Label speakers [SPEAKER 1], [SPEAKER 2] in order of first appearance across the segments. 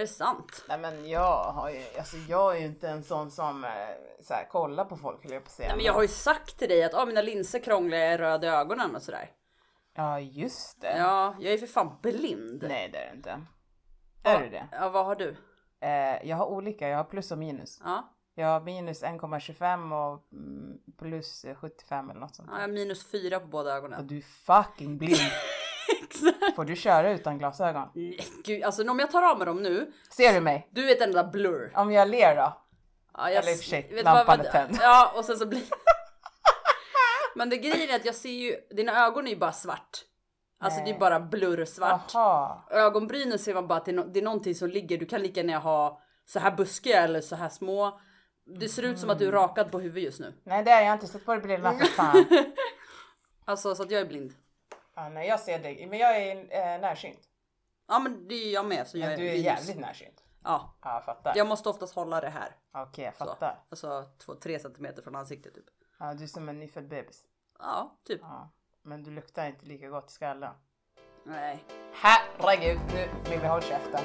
[SPEAKER 1] Är det sant?
[SPEAKER 2] Nej men jag har ju, alltså jag är ju inte en sån som eh, så här, kollar på folk höll jag på att säga.
[SPEAKER 1] Nej, men jag har ju sagt till dig att ah, mina linser krånglar, jag är röd i ögonen och sådär.
[SPEAKER 2] Ja just det.
[SPEAKER 1] Ja, jag är för fan blind.
[SPEAKER 2] Nej det är det inte. Är du det?
[SPEAKER 1] Ja, vad har du?
[SPEAKER 2] Eh, jag har olika, jag har plus och minus.
[SPEAKER 1] Ja,
[SPEAKER 2] Jag har minus 1,25 och mm, plus 75 eller något sånt.
[SPEAKER 1] ja, jag har minus fyra på båda
[SPEAKER 2] Och
[SPEAKER 1] ögonen.
[SPEAKER 2] du är fucking blind.
[SPEAKER 1] Exakt.
[SPEAKER 2] Får du köra utan glasögon?
[SPEAKER 1] Nej, Gud, alltså om jag tar av mig dem nu,
[SPEAKER 2] Ser du mig?
[SPEAKER 1] du är ett enda blur.
[SPEAKER 2] Om jag ler då?
[SPEAKER 1] Ja, jag,
[SPEAKER 2] Eller i och för sig,
[SPEAKER 1] vet du vad-
[SPEAKER 2] lampan
[SPEAKER 1] vad-
[SPEAKER 2] är tänd.
[SPEAKER 1] Ja, och sen så blir... Men det grejen är att jag ser ju, dina ögon är ju bara svart. Alltså det är
[SPEAKER 2] Nej.
[SPEAKER 1] bara blurrsvart.
[SPEAKER 2] Aha.
[SPEAKER 1] Ögonbrynen ser man bara att det är, nå- det är någonting som ligger, du kan lika gärna ha så här buskiga eller så här små. Det ser ut som att du är rakad på huvudet just nu.
[SPEAKER 2] Nej det har jag inte sett på det brillorna för fan.
[SPEAKER 1] Alltså så att jag är blind.
[SPEAKER 2] Ja, nej jag ser dig, men jag är eh, närsynt.
[SPEAKER 1] Ja men det är jag med så jag
[SPEAKER 2] Men du är
[SPEAKER 1] minus.
[SPEAKER 2] jävligt närsynt.
[SPEAKER 1] Ja.
[SPEAKER 2] Ja jag fattar.
[SPEAKER 1] Jag måste oftast hålla det här.
[SPEAKER 2] Okej jag
[SPEAKER 1] Så.
[SPEAKER 2] fattar.
[SPEAKER 1] Alltså 2-3 centimeter från ansiktet typ.
[SPEAKER 2] Ja, du är som en nyfödd bebis.
[SPEAKER 1] Ja, typ.
[SPEAKER 2] Ja. Men du luktar inte lika gott i skallen.
[SPEAKER 1] Nej.
[SPEAKER 2] Herregud, nu Mimmi håll käften.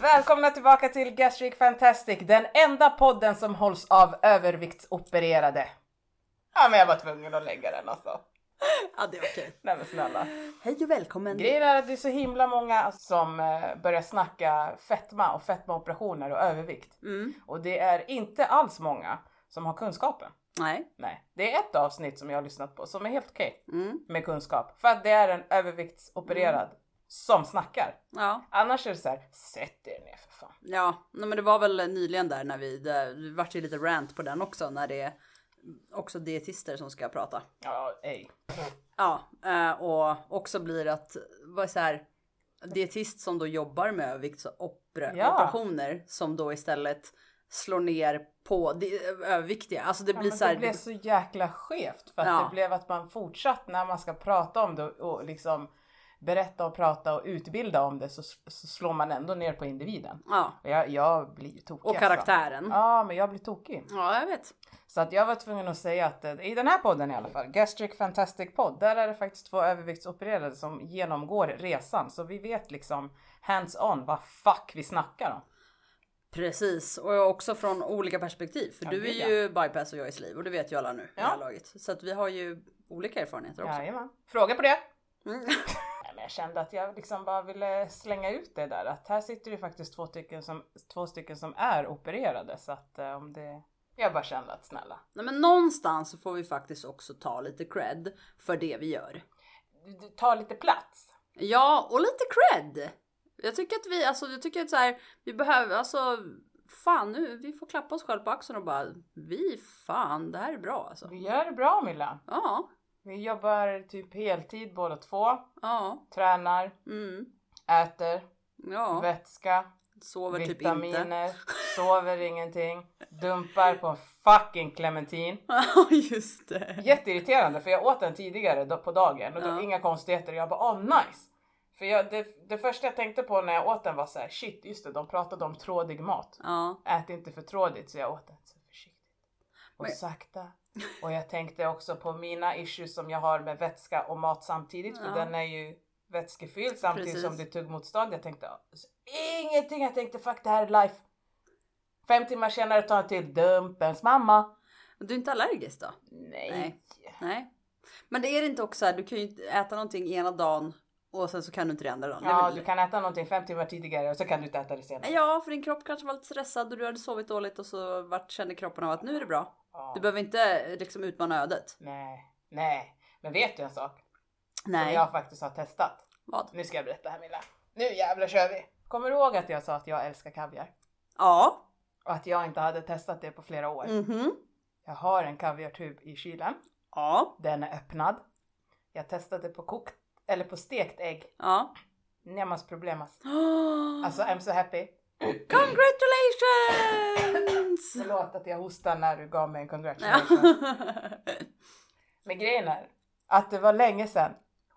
[SPEAKER 2] Välkomna tillbaka till Gastric Fantastic, den enda podden som hålls av överviktsopererade. Ja men jag var tvungen att lägga den alltså.
[SPEAKER 1] Ja det är okej.
[SPEAKER 2] Nej men snälla.
[SPEAKER 1] Hej och välkommen.
[SPEAKER 2] Grejen är att det är så himla många som eh, börjar snacka fetma och fetmaoperationer och övervikt.
[SPEAKER 1] Mm.
[SPEAKER 2] Och det är inte alls många som har kunskapen.
[SPEAKER 1] Nej.
[SPEAKER 2] Nej, det är ett avsnitt som jag har lyssnat på som är helt okej
[SPEAKER 1] Mm.
[SPEAKER 2] med kunskap. För att det är en överviktsopererad som snackar.
[SPEAKER 1] Ja.
[SPEAKER 2] Annars är det så här, sätt er ner för fan.
[SPEAKER 1] Ja, nej, men det var väl nyligen där när vi, det, det vart ju lite rant på den också när det är också dietister som ska prata.
[SPEAKER 2] Ja, ej.
[SPEAKER 1] Ja, eh, och också blir att, vad så här, dietist som då jobbar med överviktsoperationer
[SPEAKER 2] Ja.
[SPEAKER 1] operationer som då istället slår ner på di- överviktiga. Alltså det
[SPEAKER 2] Ja,
[SPEAKER 1] blir
[SPEAKER 2] men
[SPEAKER 1] så här,
[SPEAKER 2] det blev så jäkla skevt för att
[SPEAKER 1] Ja.
[SPEAKER 2] det blev att man fortsatt när man ska prata om det och och liksom berätta och prata och utbilda om det så, så slår man ändå ner på individen.
[SPEAKER 1] ja,
[SPEAKER 2] Jag, jag blir ju tokig.
[SPEAKER 1] och karaktären. Mm.
[SPEAKER 2] Alltså.
[SPEAKER 1] Ja.
[SPEAKER 2] Ja, men jag blir tokig.
[SPEAKER 1] jag vet.
[SPEAKER 2] Så att jag var tvungen att säga att eh, i den här podden i alla fall, Gastric Fantastic Podd, där är det faktiskt två överviktsopererade som genomgår resan. Så vi vet liksom hands-on vad fuck vi snackar om.
[SPEAKER 1] Precis, och jag också från olika perspektiv. För
[SPEAKER 2] Ja,
[SPEAKER 1] du
[SPEAKER 2] gud,
[SPEAKER 1] är
[SPEAKER 2] ja.
[SPEAKER 1] ju bypass och jag är sliv och det vet ju alla nu i det
[SPEAKER 2] Ja.
[SPEAKER 1] här laget. Så att vi har ju olika erfarenheter också.
[SPEAKER 2] Jajamän. Fråga på det!
[SPEAKER 1] Mm.
[SPEAKER 2] Nej, men jag kände att jag liksom bara ville slänga ut det där att här sitter ju faktiskt två stycken som, två stycken som är opererade så att eh, om det... Jag bara kände att snälla.
[SPEAKER 1] Nej, men någonstans så får vi faktiskt också ta lite cred för det vi gör.
[SPEAKER 2] du- du- Ta lite plats.
[SPEAKER 1] Ja, och lite cred. Jag tycker att vi, alltså jag tycker att så här, vi behöver, alltså fan nu, vi får klappa oss själva på axeln och bara vi fan, det här är bra alltså.
[SPEAKER 2] Vi gör det bra Milla.
[SPEAKER 1] Ja,
[SPEAKER 2] Vi jobbar typ heltid båda två.
[SPEAKER 1] ja,
[SPEAKER 2] Tränar,
[SPEAKER 1] mm,
[SPEAKER 2] äter,
[SPEAKER 1] ja,
[SPEAKER 2] vätska,
[SPEAKER 1] sover typ inte.
[SPEAKER 2] vitaminer, sover ingenting, dumpar på en fucking clementin.
[SPEAKER 1] Ja, just det.
[SPEAKER 2] Jätteirriterande för jag åt den tidigare då- på dagen och då,
[SPEAKER 1] Ja.
[SPEAKER 2] inga konstigheter och jag bara åh nice. För jag, det, det första jag tänkte på när jag åt den var så här, shit just det de pratade om trådig mat.
[SPEAKER 1] Ja,
[SPEAKER 2] Ät inte för trådigt så jag åt den så försiktigt och
[SPEAKER 1] Men-
[SPEAKER 2] sakta. Och jag tänkte också på mina issues som jag har med vätska och mat samtidigt för
[SPEAKER 1] Ja.
[SPEAKER 2] den är ju vätskefylld samtidigt
[SPEAKER 1] Precis.
[SPEAKER 2] som det är tuggmotstånd. Jag tänkte alltså, ingenting, jag tänkte fuck det här är life. Fem timmar senare tar jag till dumpens mamma.
[SPEAKER 1] du är inte allergisk då?
[SPEAKER 2] Nej.
[SPEAKER 1] Nej. Men det är det inte också så här, du kan ju inte äta någonting ena dagen och sen så kan du inte det andra dagen.
[SPEAKER 2] Ja,
[SPEAKER 1] Nej,
[SPEAKER 2] du
[SPEAKER 1] men-
[SPEAKER 2] kan äta någonting fem timmar tidigare och så kan du inte äta det senare.
[SPEAKER 1] Ja, för din kropp kanske var lite stressad och du hade sovit dåligt och så vart, kände kroppen av att nu är det bra.
[SPEAKER 2] Ja.
[SPEAKER 1] Du behöver inte eh, liksom utmana ödet.
[SPEAKER 2] Nej, nej. Men vet du en sak? Som
[SPEAKER 1] Nej.
[SPEAKER 2] jag faktiskt har testat.
[SPEAKER 1] Vad?
[SPEAKER 2] Nu ska jag berätta här Milla. Nu jävlar kör vi! Kommer du ihåg att jag sa att jag älskar kaviar?
[SPEAKER 1] Ja.
[SPEAKER 2] Och att jag inte hade testat det på flera år.
[SPEAKER 1] Mhm.
[SPEAKER 2] Jag har en kaviartub i kylen.
[SPEAKER 1] Ja.
[SPEAKER 2] Den är öppnad. Jag testade på kokt, eller på stekt ägg.
[SPEAKER 1] Ja.
[SPEAKER 2] Nemas problemas.
[SPEAKER 1] Oh,
[SPEAKER 2] Alltså I'm so happy.
[SPEAKER 1] Congratulations!
[SPEAKER 2] Förlåt att jag hostar när du gav mig en
[SPEAKER 1] Ja.
[SPEAKER 2] congratulations. Men grejen är att det var länge sedan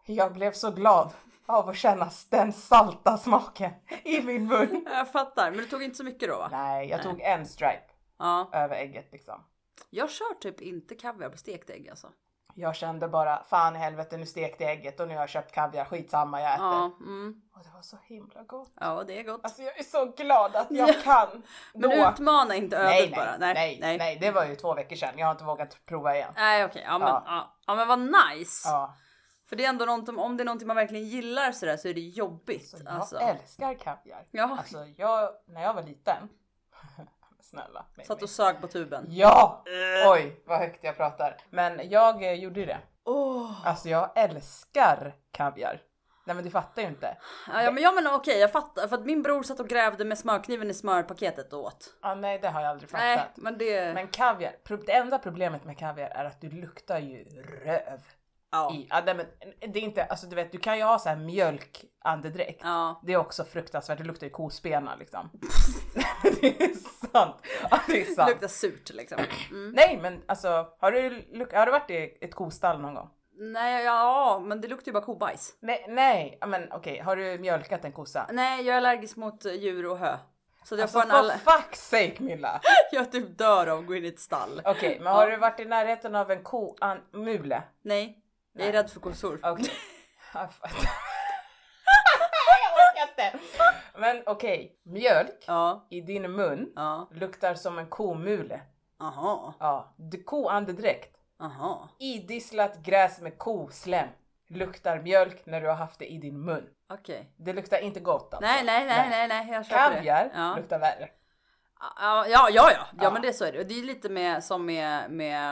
[SPEAKER 2] jag blev så glad av att känna den salta smaken i min mun.
[SPEAKER 1] Jag fattar, men du tog inte så mycket då va?
[SPEAKER 2] Nej, jag tog en stripe
[SPEAKER 1] Ja.
[SPEAKER 2] över ägget liksom.
[SPEAKER 1] Jag kör typ inte kaviar på stekt ägg alltså.
[SPEAKER 2] Jag kände bara, fan i helvete nu stekte jag ägget och nu har jag köpt kaviar, skitsamma jag äter.
[SPEAKER 1] Ja, mm.
[SPEAKER 2] Och det var så himla gott.
[SPEAKER 1] ja det är gott.
[SPEAKER 2] Alltså jag är så glad att jag
[SPEAKER 1] Ja.
[SPEAKER 2] kan.
[SPEAKER 1] Men
[SPEAKER 2] då.
[SPEAKER 1] utmana inte ödet
[SPEAKER 2] nej, nej,
[SPEAKER 1] bara.
[SPEAKER 2] nej, nej, nej, det var ju två veckor sedan. Jag har inte vågat prova igen.
[SPEAKER 1] Nej okej, ja, men,
[SPEAKER 2] Ja.
[SPEAKER 1] ja. Ja. men vad nice!
[SPEAKER 2] Ja,
[SPEAKER 1] För det är ändå något, om det är någonting man verkligen gillar sådär så är det jobbigt.
[SPEAKER 2] så jag
[SPEAKER 1] alltså.
[SPEAKER 2] älskar kaviar.
[SPEAKER 1] Ja,
[SPEAKER 2] Alltså jag, när jag var liten. snälla. Mimmi.
[SPEAKER 1] satt och sög på
[SPEAKER 2] Mm.
[SPEAKER 1] tuben.
[SPEAKER 2] Ja!
[SPEAKER 1] Eh.
[SPEAKER 2] Oj, vad högt jag pratar. Men jag eh, gjorde ju det.
[SPEAKER 1] Åh.
[SPEAKER 2] Alltså jag älskar kaviar. Nej men du fattar ju inte.
[SPEAKER 1] Ja, ja men jag menar okej, jag fattar. För att min bror satt och grävde med smörkniven i smörpaketet och åt.
[SPEAKER 2] Ah, nej det har jag aldrig fattat.
[SPEAKER 1] Nej, men det...
[SPEAKER 2] Men kaviar, pro- det enda problemet med kaviar är att du luktar ju röv.
[SPEAKER 1] ja.
[SPEAKER 2] I, ah, nej, men det är inte, alltså du vet du kan ju ha så här mjölkandedräkt.
[SPEAKER 1] ja.
[SPEAKER 2] Det är också fruktansvärt, det luktar ju kospena liksom. det är sant. Ja, det är
[SPEAKER 1] Det
[SPEAKER 2] sant.
[SPEAKER 1] luktar surt liksom. Mm.
[SPEAKER 2] Nej men alltså, har du, luk- har du varit i ett kostall någon gång?
[SPEAKER 1] Nej, ja, men det luktar ju bara kobajs.
[SPEAKER 2] Nej, nej. Ja, men okej, har du mjölkat en kossa?
[SPEAKER 1] Nej, jag är allergisk mot eh, djur och hö. Så jag
[SPEAKER 2] Alltså
[SPEAKER 1] får en
[SPEAKER 2] for
[SPEAKER 1] all...
[SPEAKER 2] fuck's sake Milla!
[SPEAKER 1] Jag typ dör av att gå in i ett stall.
[SPEAKER 2] Okej, men har du varit i närheten av en ko, an, mule?
[SPEAKER 1] Nej, jag är
[SPEAKER 2] Nej.
[SPEAKER 1] rädd för kossor.
[SPEAKER 2] Okej. Ja, fan. Jag orkar inte! Men okej, mjölk
[SPEAKER 1] Ja,
[SPEAKER 2] i din mun
[SPEAKER 1] ja.
[SPEAKER 2] luktar som en komule.
[SPEAKER 1] Aha,
[SPEAKER 2] Ja, d- koandedräkt.
[SPEAKER 1] aha.
[SPEAKER 2] Idisslat gräs med koslem luktar mjölk när du har haft det i din mun.
[SPEAKER 1] Okej.
[SPEAKER 2] Det luktar inte gott alltså.
[SPEAKER 1] Nej, nej, nej, nej, nej, jag köper
[SPEAKER 2] Kaviar
[SPEAKER 1] det. Ja.
[SPEAKER 2] luktar värre.
[SPEAKER 1] Ja, ja, ja, ja.
[SPEAKER 2] Ja.
[SPEAKER 1] ja, men det så är det. Och Det är lite med, som med, med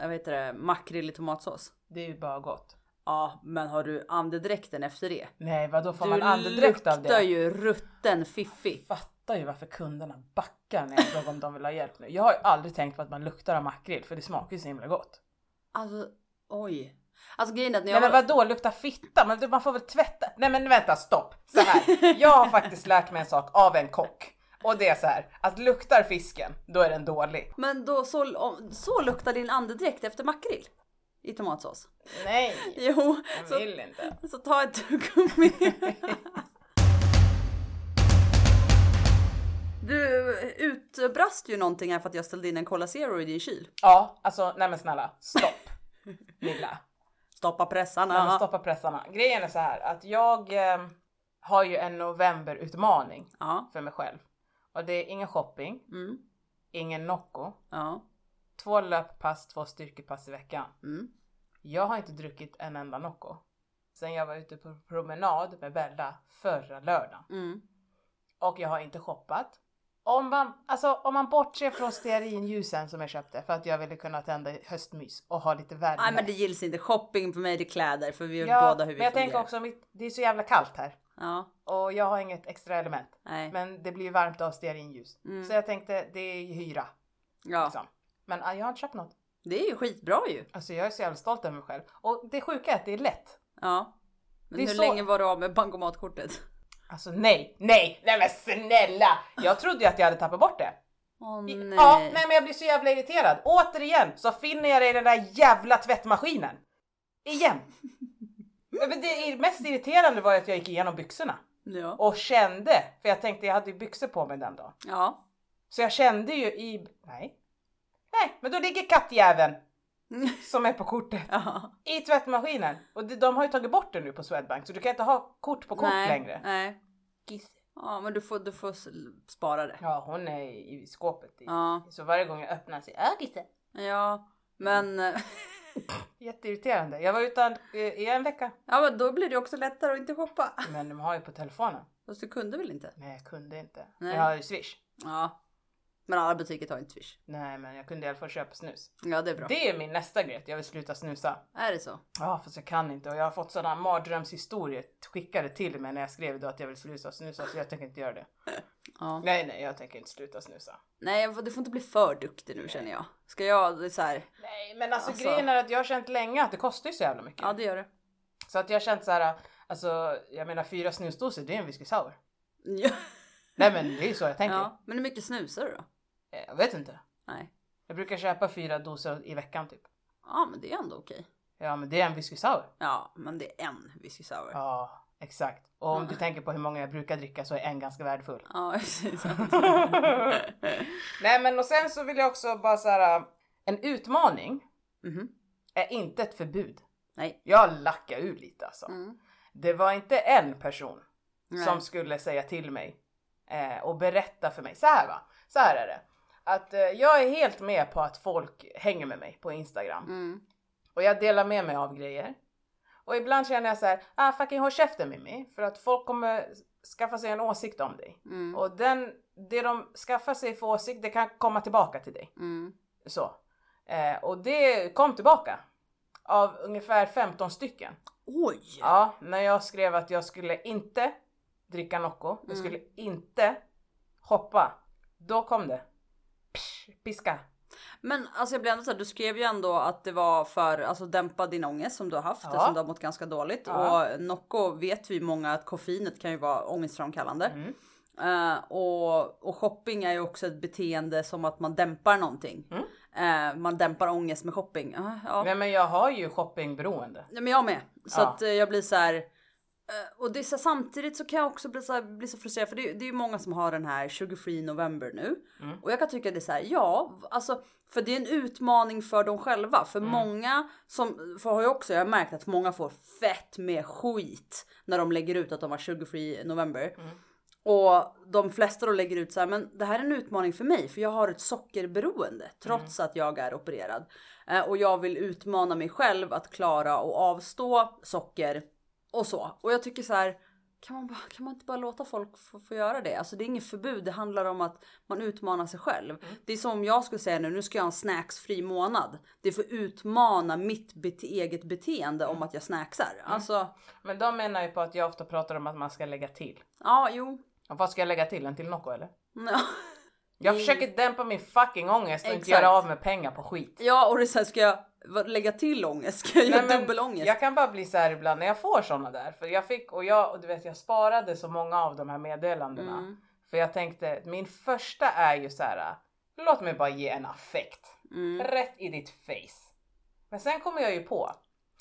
[SPEAKER 1] jag vet det, makrill i tomatsås.
[SPEAKER 2] Det är ju bara gott.
[SPEAKER 1] Ja, men har du andedräkten efter det?
[SPEAKER 2] Nej, vadå får man
[SPEAKER 1] Du
[SPEAKER 2] andedräkt av
[SPEAKER 1] luktar
[SPEAKER 2] det?
[SPEAKER 1] ju rutten fiffi.
[SPEAKER 2] Fattar ju varför kunderna backar när jag frågar om de vill ha hjälp nu. Jag har ju aldrig tänkt på att man luktar av makrill för det smakar ju så himla gott.
[SPEAKER 1] Alltså, oj. Alltså grejen är att när
[SPEAKER 2] Nej
[SPEAKER 1] jag
[SPEAKER 2] men
[SPEAKER 1] var...
[SPEAKER 2] vadå lukta fitta? Men du, man får väl tvätta? Nej men vänta stopp! Så här. jag har faktiskt lärt mig en sak av en kock. Och det är så här, att luktar fisken, då är den dålig.
[SPEAKER 1] Men då så, om- så luktar din andedräkt efter makrill i tomatsås.
[SPEAKER 2] Nej,
[SPEAKER 1] Jo,
[SPEAKER 2] jag
[SPEAKER 1] så,
[SPEAKER 2] vill inte.
[SPEAKER 1] så ta ett tuggummi. Du utbrast ju någonting här för att jag ställde in en Cola Zero i din kyl.
[SPEAKER 2] Ja, alltså nej men snälla, stopp. Lilla.
[SPEAKER 1] Stoppa pressarna.
[SPEAKER 2] Nej, men stoppa pressarna. Grejen är så här att jag eh, har ju en novemberutmaning
[SPEAKER 1] Ja.
[SPEAKER 2] för mig själv. Och det är ingen shopping,
[SPEAKER 1] Mm.
[SPEAKER 2] ingen Nocco,
[SPEAKER 1] Ja.
[SPEAKER 2] två löppass, två styrkepass i veckan.
[SPEAKER 1] Mm.
[SPEAKER 2] Jag har inte druckit en enda Nocco sen jag var ute på promenad med Bella förra lördagen.
[SPEAKER 1] Mm.
[SPEAKER 2] Och jag har inte shoppat. Om man, alltså, om man bortser från stearinljusen som jag köpte för att jag ville kunna tända höstmys och ha lite värme.
[SPEAKER 1] Nej men det gills inte. Shopping för mig det är kläder för vi är
[SPEAKER 2] ja,
[SPEAKER 1] båda hur vi
[SPEAKER 2] men jag tänker
[SPEAKER 1] fungerar.
[SPEAKER 2] också, mitt, det är så jävla kallt här
[SPEAKER 1] Ja.
[SPEAKER 2] och jag har inget extra element.
[SPEAKER 1] Nej.
[SPEAKER 2] Men det blir ju varmt av stearinljus.
[SPEAKER 1] Mm.
[SPEAKER 2] Så jag tänkte, det är ju hyra.
[SPEAKER 1] ja.
[SPEAKER 2] Liksom. Men ah, jag har inte köpt något.
[SPEAKER 1] Det är ju skitbra ju.
[SPEAKER 2] Alltså jag är så jävla stolt över mig själv. Och det sjuka är att det är lätt.
[SPEAKER 1] Ja. Men
[SPEAKER 2] Det är
[SPEAKER 1] hur
[SPEAKER 2] så-
[SPEAKER 1] länge var du av med bankomatkortet?
[SPEAKER 2] Alltså nej, nej, nej men snälla! Jag trodde ju att jag hade tappat bort det.
[SPEAKER 1] Åh
[SPEAKER 2] I-
[SPEAKER 1] nej.
[SPEAKER 2] Ja, nej men jag blir så jävla irriterad. Återigen så finner jag det i den där jävla tvättmaskinen. Igen. Nej, men det ir- mest irriterande var ju att jag gick igenom byxorna
[SPEAKER 1] Ja.
[SPEAKER 2] och kände, för jag tänkte jag hade ju byxor på mig den dagen.
[SPEAKER 1] Ja.
[SPEAKER 2] Så jag kände ju i... Nej. Nej, men då ligger kattjäveln som är på kortet
[SPEAKER 1] ja.
[SPEAKER 2] i tvättmaskinen. Och de, de har ju tagit bort det nu på Swedbank så du kan inte ha kort på kort
[SPEAKER 1] nej.
[SPEAKER 2] längre.
[SPEAKER 1] Nej. Ja men du får, du får s- spara det.
[SPEAKER 2] Ja, hon är i i skåpet. I.
[SPEAKER 1] Ja.
[SPEAKER 2] Så varje gång jag öppnar så är Gisse.
[SPEAKER 1] Ja. Men.
[SPEAKER 2] Jätteirriterande. Jag var utan eh, i en vecka.
[SPEAKER 1] Ja men då blir det också lättare att inte shoppa.
[SPEAKER 2] Men de har ju på telefonen.
[SPEAKER 1] Fast du kunde väl inte?
[SPEAKER 2] Nej, jag kunde inte. Men
[SPEAKER 1] Nej.
[SPEAKER 2] Jag har ju Swish.
[SPEAKER 1] Ja. Men alla butiker tar inte swish.
[SPEAKER 2] Nej, men jag kunde i alla fall köpa snus.
[SPEAKER 1] Ja det är bra.
[SPEAKER 2] Det är min nästa grej, att jag vill sluta snusa.
[SPEAKER 1] Är det så?
[SPEAKER 2] Ja, fast jag kan inte och jag har fått sådana mardrömshistorier skickade till mig när jag skrev idag att jag vill sluta snusa så jag tänker inte göra det.
[SPEAKER 1] Ja.
[SPEAKER 2] Nej, nej, jag tänker inte sluta snusa.
[SPEAKER 1] Nej, jag får- du får inte bli för duktig nu känner jag. Ska jag, det är så här,
[SPEAKER 2] Nej, men alltså,
[SPEAKER 1] Alltså.
[SPEAKER 2] grejen är att jag har känt länge att det kostar ju så jävla mycket.
[SPEAKER 1] ja det gör det.
[SPEAKER 2] Så att jag har känt så här, alltså jag menar fyra snusdosor det är en whisky sour.
[SPEAKER 1] Ja.
[SPEAKER 2] Nej men det är ju så jag tänker.
[SPEAKER 1] ja. Men hur mycket snusar du då?
[SPEAKER 2] Eh, Jag vet inte.
[SPEAKER 1] Nej.
[SPEAKER 2] Jag brukar köpa fyra doser i veckan typ.
[SPEAKER 1] Ja men det är ändå okej.
[SPEAKER 2] Ja men det är en whisky sour.
[SPEAKER 1] Ja men det är en whisky sour.
[SPEAKER 2] Ja, Exakt. Och om
[SPEAKER 1] Ja.
[SPEAKER 2] du tänker på hur många jag brukar dricka så är en ganska värdefull.
[SPEAKER 1] Ja, precis.
[SPEAKER 2] Nej men och sen så vill jag också bara så här. En utmaning
[SPEAKER 1] Mhm.
[SPEAKER 2] är inte ett förbud.
[SPEAKER 1] Nej.
[SPEAKER 2] Jag lackade ur lite alltså.
[SPEAKER 1] Mm.
[SPEAKER 2] Det var inte en person
[SPEAKER 1] Nej.
[SPEAKER 2] som skulle säga till mig eh, och berätta för mig. Så här va, så här är det. Att eh, jag är helt med på att folk hänger med mig på Instagram.
[SPEAKER 1] Mm.
[SPEAKER 2] Och jag delar med mig av grejer. Och ibland känner jag så här, ah fucking håll käften Mimmi. För att folk kommer skaffa sig en åsikt om dig.
[SPEAKER 1] Mm.
[SPEAKER 2] Och den, det de skaffar sig för åsikt, det kan komma tillbaka till dig.
[SPEAKER 1] Mm.
[SPEAKER 2] Så. Eh, och det kom tillbaka. Av ungefär 15 stycken.
[SPEAKER 1] Oj!
[SPEAKER 2] Ja, när jag skrev att jag skulle inte dricka Nocco, jag
[SPEAKER 1] Mm.
[SPEAKER 2] skulle inte hoppa. Då kom det. Psh, piska.
[SPEAKER 1] Men alltså jag blir ändå så här, du skrev ju ändå att det var för alltså dämpa din ångest som du har haft
[SPEAKER 2] Ja.
[SPEAKER 1] eftersom du har mått ganska dåligt
[SPEAKER 2] Ja.
[SPEAKER 1] och Nocco vet vi många att koffeinet kan ju vara ångestframkallande
[SPEAKER 2] Mm.
[SPEAKER 1] Eh, och, och shopping är ju också ett beteende som att man dämpar någonting.
[SPEAKER 2] Mm.
[SPEAKER 1] Eh, man dämpar ångest med shopping. Ah, ja.
[SPEAKER 2] Nej men jag har ju shoppingberoende.
[SPEAKER 1] Nej men jag med. Så
[SPEAKER 2] Ja.
[SPEAKER 1] att eh, jag blir så här. eh, Och det är så här, samtidigt så kan jag också bli så, här, bli så frustrerad för det, är- det är ju många som har den här 23 november nu. Och jag kan tycka det är så här, ja, alltså för det är en utmaning för dem själva. För många som, för har jag också, jag har märkt att många får fett med skit när de lägger ut att de har 23 november. Och de flesta då lägger ut så här, men det här är en utmaning för mig för jag har ett sockerberoende trots att jag är opererad. Eh, och jag vill utmana mig själv att klara och avstå socker och så. Och jag tycker så här, kan man, bara, kan man inte bara låta folk få, få göra det? Alltså det är inget förbud, det handlar om att man utmanar sig själv. Det är som om jag skulle säga nu, nu ska jag ha en snacksfri månad. Det får utmana mitt bete- eget beteende om att jag snacksar. Alltså,
[SPEAKER 2] Men de menar ju på att jag ofta pratar om att man ska lägga till.
[SPEAKER 1] ja jo.
[SPEAKER 2] Och vad ska jag lägga till? En till Nocco eller?
[SPEAKER 1] Ja.
[SPEAKER 2] Jag försöker dämpa min fucking ångest och inte
[SPEAKER 1] Exakt.
[SPEAKER 2] göra av med pengar på skit.
[SPEAKER 1] Ja och det är så här, ska jag vad- lägga till ångest? Ska jag
[SPEAKER 2] Nej,
[SPEAKER 1] göra
[SPEAKER 2] men
[SPEAKER 1] dubbelångest?
[SPEAKER 2] Jag kan bara bli så här ibland när jag får såna där. För jag fick och jag och du vet jag sparade så många av de här meddelandena.
[SPEAKER 1] Mm.
[SPEAKER 2] För jag tänkte min första är ju så här. Låt mig bara ge en affekt.
[SPEAKER 1] Mm.
[SPEAKER 2] Rätt i ditt face. Men sen kommer jag ju på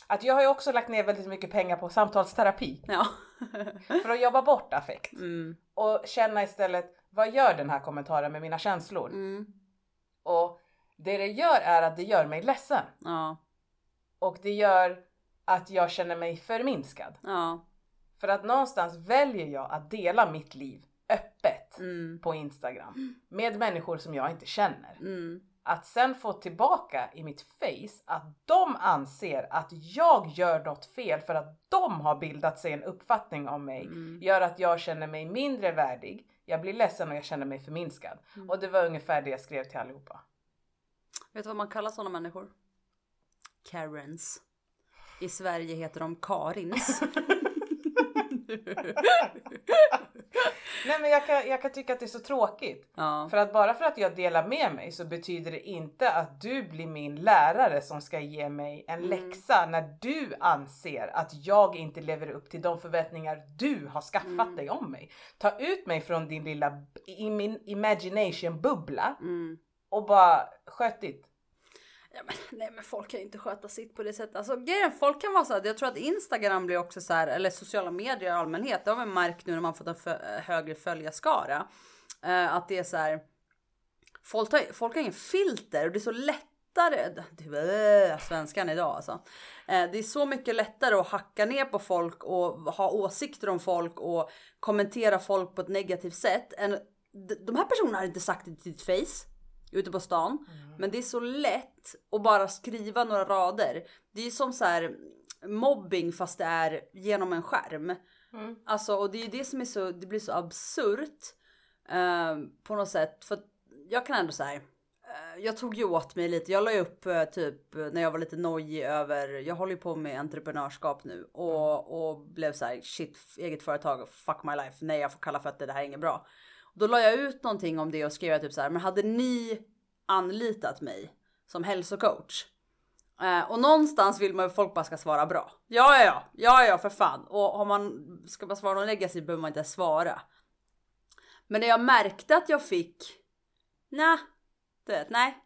[SPEAKER 2] att jag har ju också lagt ner väldigt mycket pengar på samtalsterapi
[SPEAKER 1] Ja.
[SPEAKER 2] för att jobba bort affekt
[SPEAKER 1] Mm.
[SPEAKER 2] och känna istället vad gör den här kommentaren med mina känslor?
[SPEAKER 1] Mm.
[SPEAKER 2] Och det det gör är att det gör mig ledsen
[SPEAKER 1] Ja.
[SPEAKER 2] och det gör att jag känner mig förminskad.
[SPEAKER 1] Ja.
[SPEAKER 2] För att någonstans väljer jag att dela mitt liv öppet
[SPEAKER 1] Mm.
[SPEAKER 2] på Instagram med människor som jag inte känner.
[SPEAKER 1] Mm.
[SPEAKER 2] Att sen få tillbaka i mitt face att de anser att jag gör något fel för att de har bildat sig en uppfattning om mig
[SPEAKER 1] Mm.
[SPEAKER 2] gör att jag känner mig mindre värdig. Jag blir ledsen och jag känner mig förminskad.
[SPEAKER 1] Mm.
[SPEAKER 2] Och det var ungefär det jag skrev till allihopa.
[SPEAKER 1] Vet du vad man kallar sådana människor? Karens. I Sverige heter de Karins.
[SPEAKER 2] Nej men jag kan, jag kan tycka att det är så tråkigt.
[SPEAKER 1] ja.
[SPEAKER 2] För att bara för att jag delar med mig så betyder det inte att du blir min lärare som ska ge mig en
[SPEAKER 1] Mm.
[SPEAKER 2] läxa när du anser att jag inte lever upp till de förväntningar du har skaffat
[SPEAKER 1] Mm.
[SPEAKER 2] dig om mig. Ta ut mig från din lilla b- i min imagination bubbla
[SPEAKER 1] Mm.
[SPEAKER 2] och bara sköt ditt.
[SPEAKER 1] Ja, men, nej men folk kan ju inte sköta sitt på det sättet. Alltså grejen, folk kan vara så här, jag tror att Instagram blir också så här, eller sociala medier i allmänhet, det har man märkt nu när man fått en fö- högre följarskara. Eh, att det är så här, folk har, folk har ingen filter och det är så lättare, det, äh, svenskan idag alltså. Eh, det är så mycket lättare att hacka ner på folk och ha åsikter om folk och kommentera folk på ett negativt sätt. Än, d- de här personerna har inte sagt det till ditt face ute på stan. Men det är så lätt att bara skriva några rader. Det är som så här mobbing fast det är genom en skärm.
[SPEAKER 2] Mm.
[SPEAKER 1] Alltså och det är ju det som är så, det blir så absurt eh, på något sätt. För att jag kan ändå säga, eh, jag tog ju åt mig lite. Jag la ju upp eh, typ eh, när jag var lite nojig över, jag håller ju på med entreprenörskap nu och, och blev så här shit eget företag, fuck my life, nej jag får kalla fötter, det här är inget bra. Då la jag ut någonting om det och skrev typ så här, men hade ni anlitat mig som hälsocoach? Eh, och någonstans vill man ju att folk bara ska svara bra. Ja, ja, ja, ja, ja, för fan. Och har man ska man svara någon legacy behöver man inte ens svara. Men när jag märkte att jag fick, nej, du vet, nej.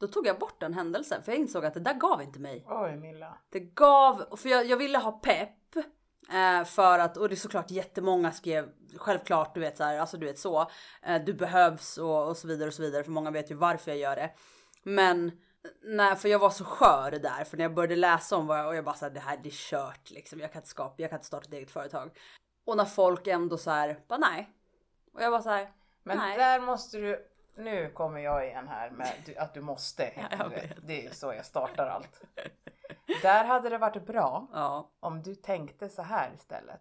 [SPEAKER 1] Då tog jag bort den händelsen för jag insåg att det där gav inte mig.
[SPEAKER 2] Oj Milla.
[SPEAKER 1] Det gav, för jag, jag ville ha pepp. Eh, för att, och det är såklart jättemånga skrev självklart du vet så här, alltså du vet så. Eh, du behövs och, och så vidare och så vidare för många vet ju varför jag gör det. Men nej, för jag var så skör där för när jag började läsa om vad jag, och jag bara så här, det här det är kört liksom. Jag kan inte skapa, jag kan inte starta ett eget företag. Och när folk ändå så här, bara nej. Och jag bara så här,
[SPEAKER 2] Men
[SPEAKER 1] nej.
[SPEAKER 2] där måste du... Nu kommer jag igen här med du, att du måste.
[SPEAKER 1] jag
[SPEAKER 2] du vet.
[SPEAKER 1] vet.
[SPEAKER 2] Det är ju så jag startar allt. Där hade det varit bra
[SPEAKER 1] Ja,
[SPEAKER 2] om du tänkte så här istället.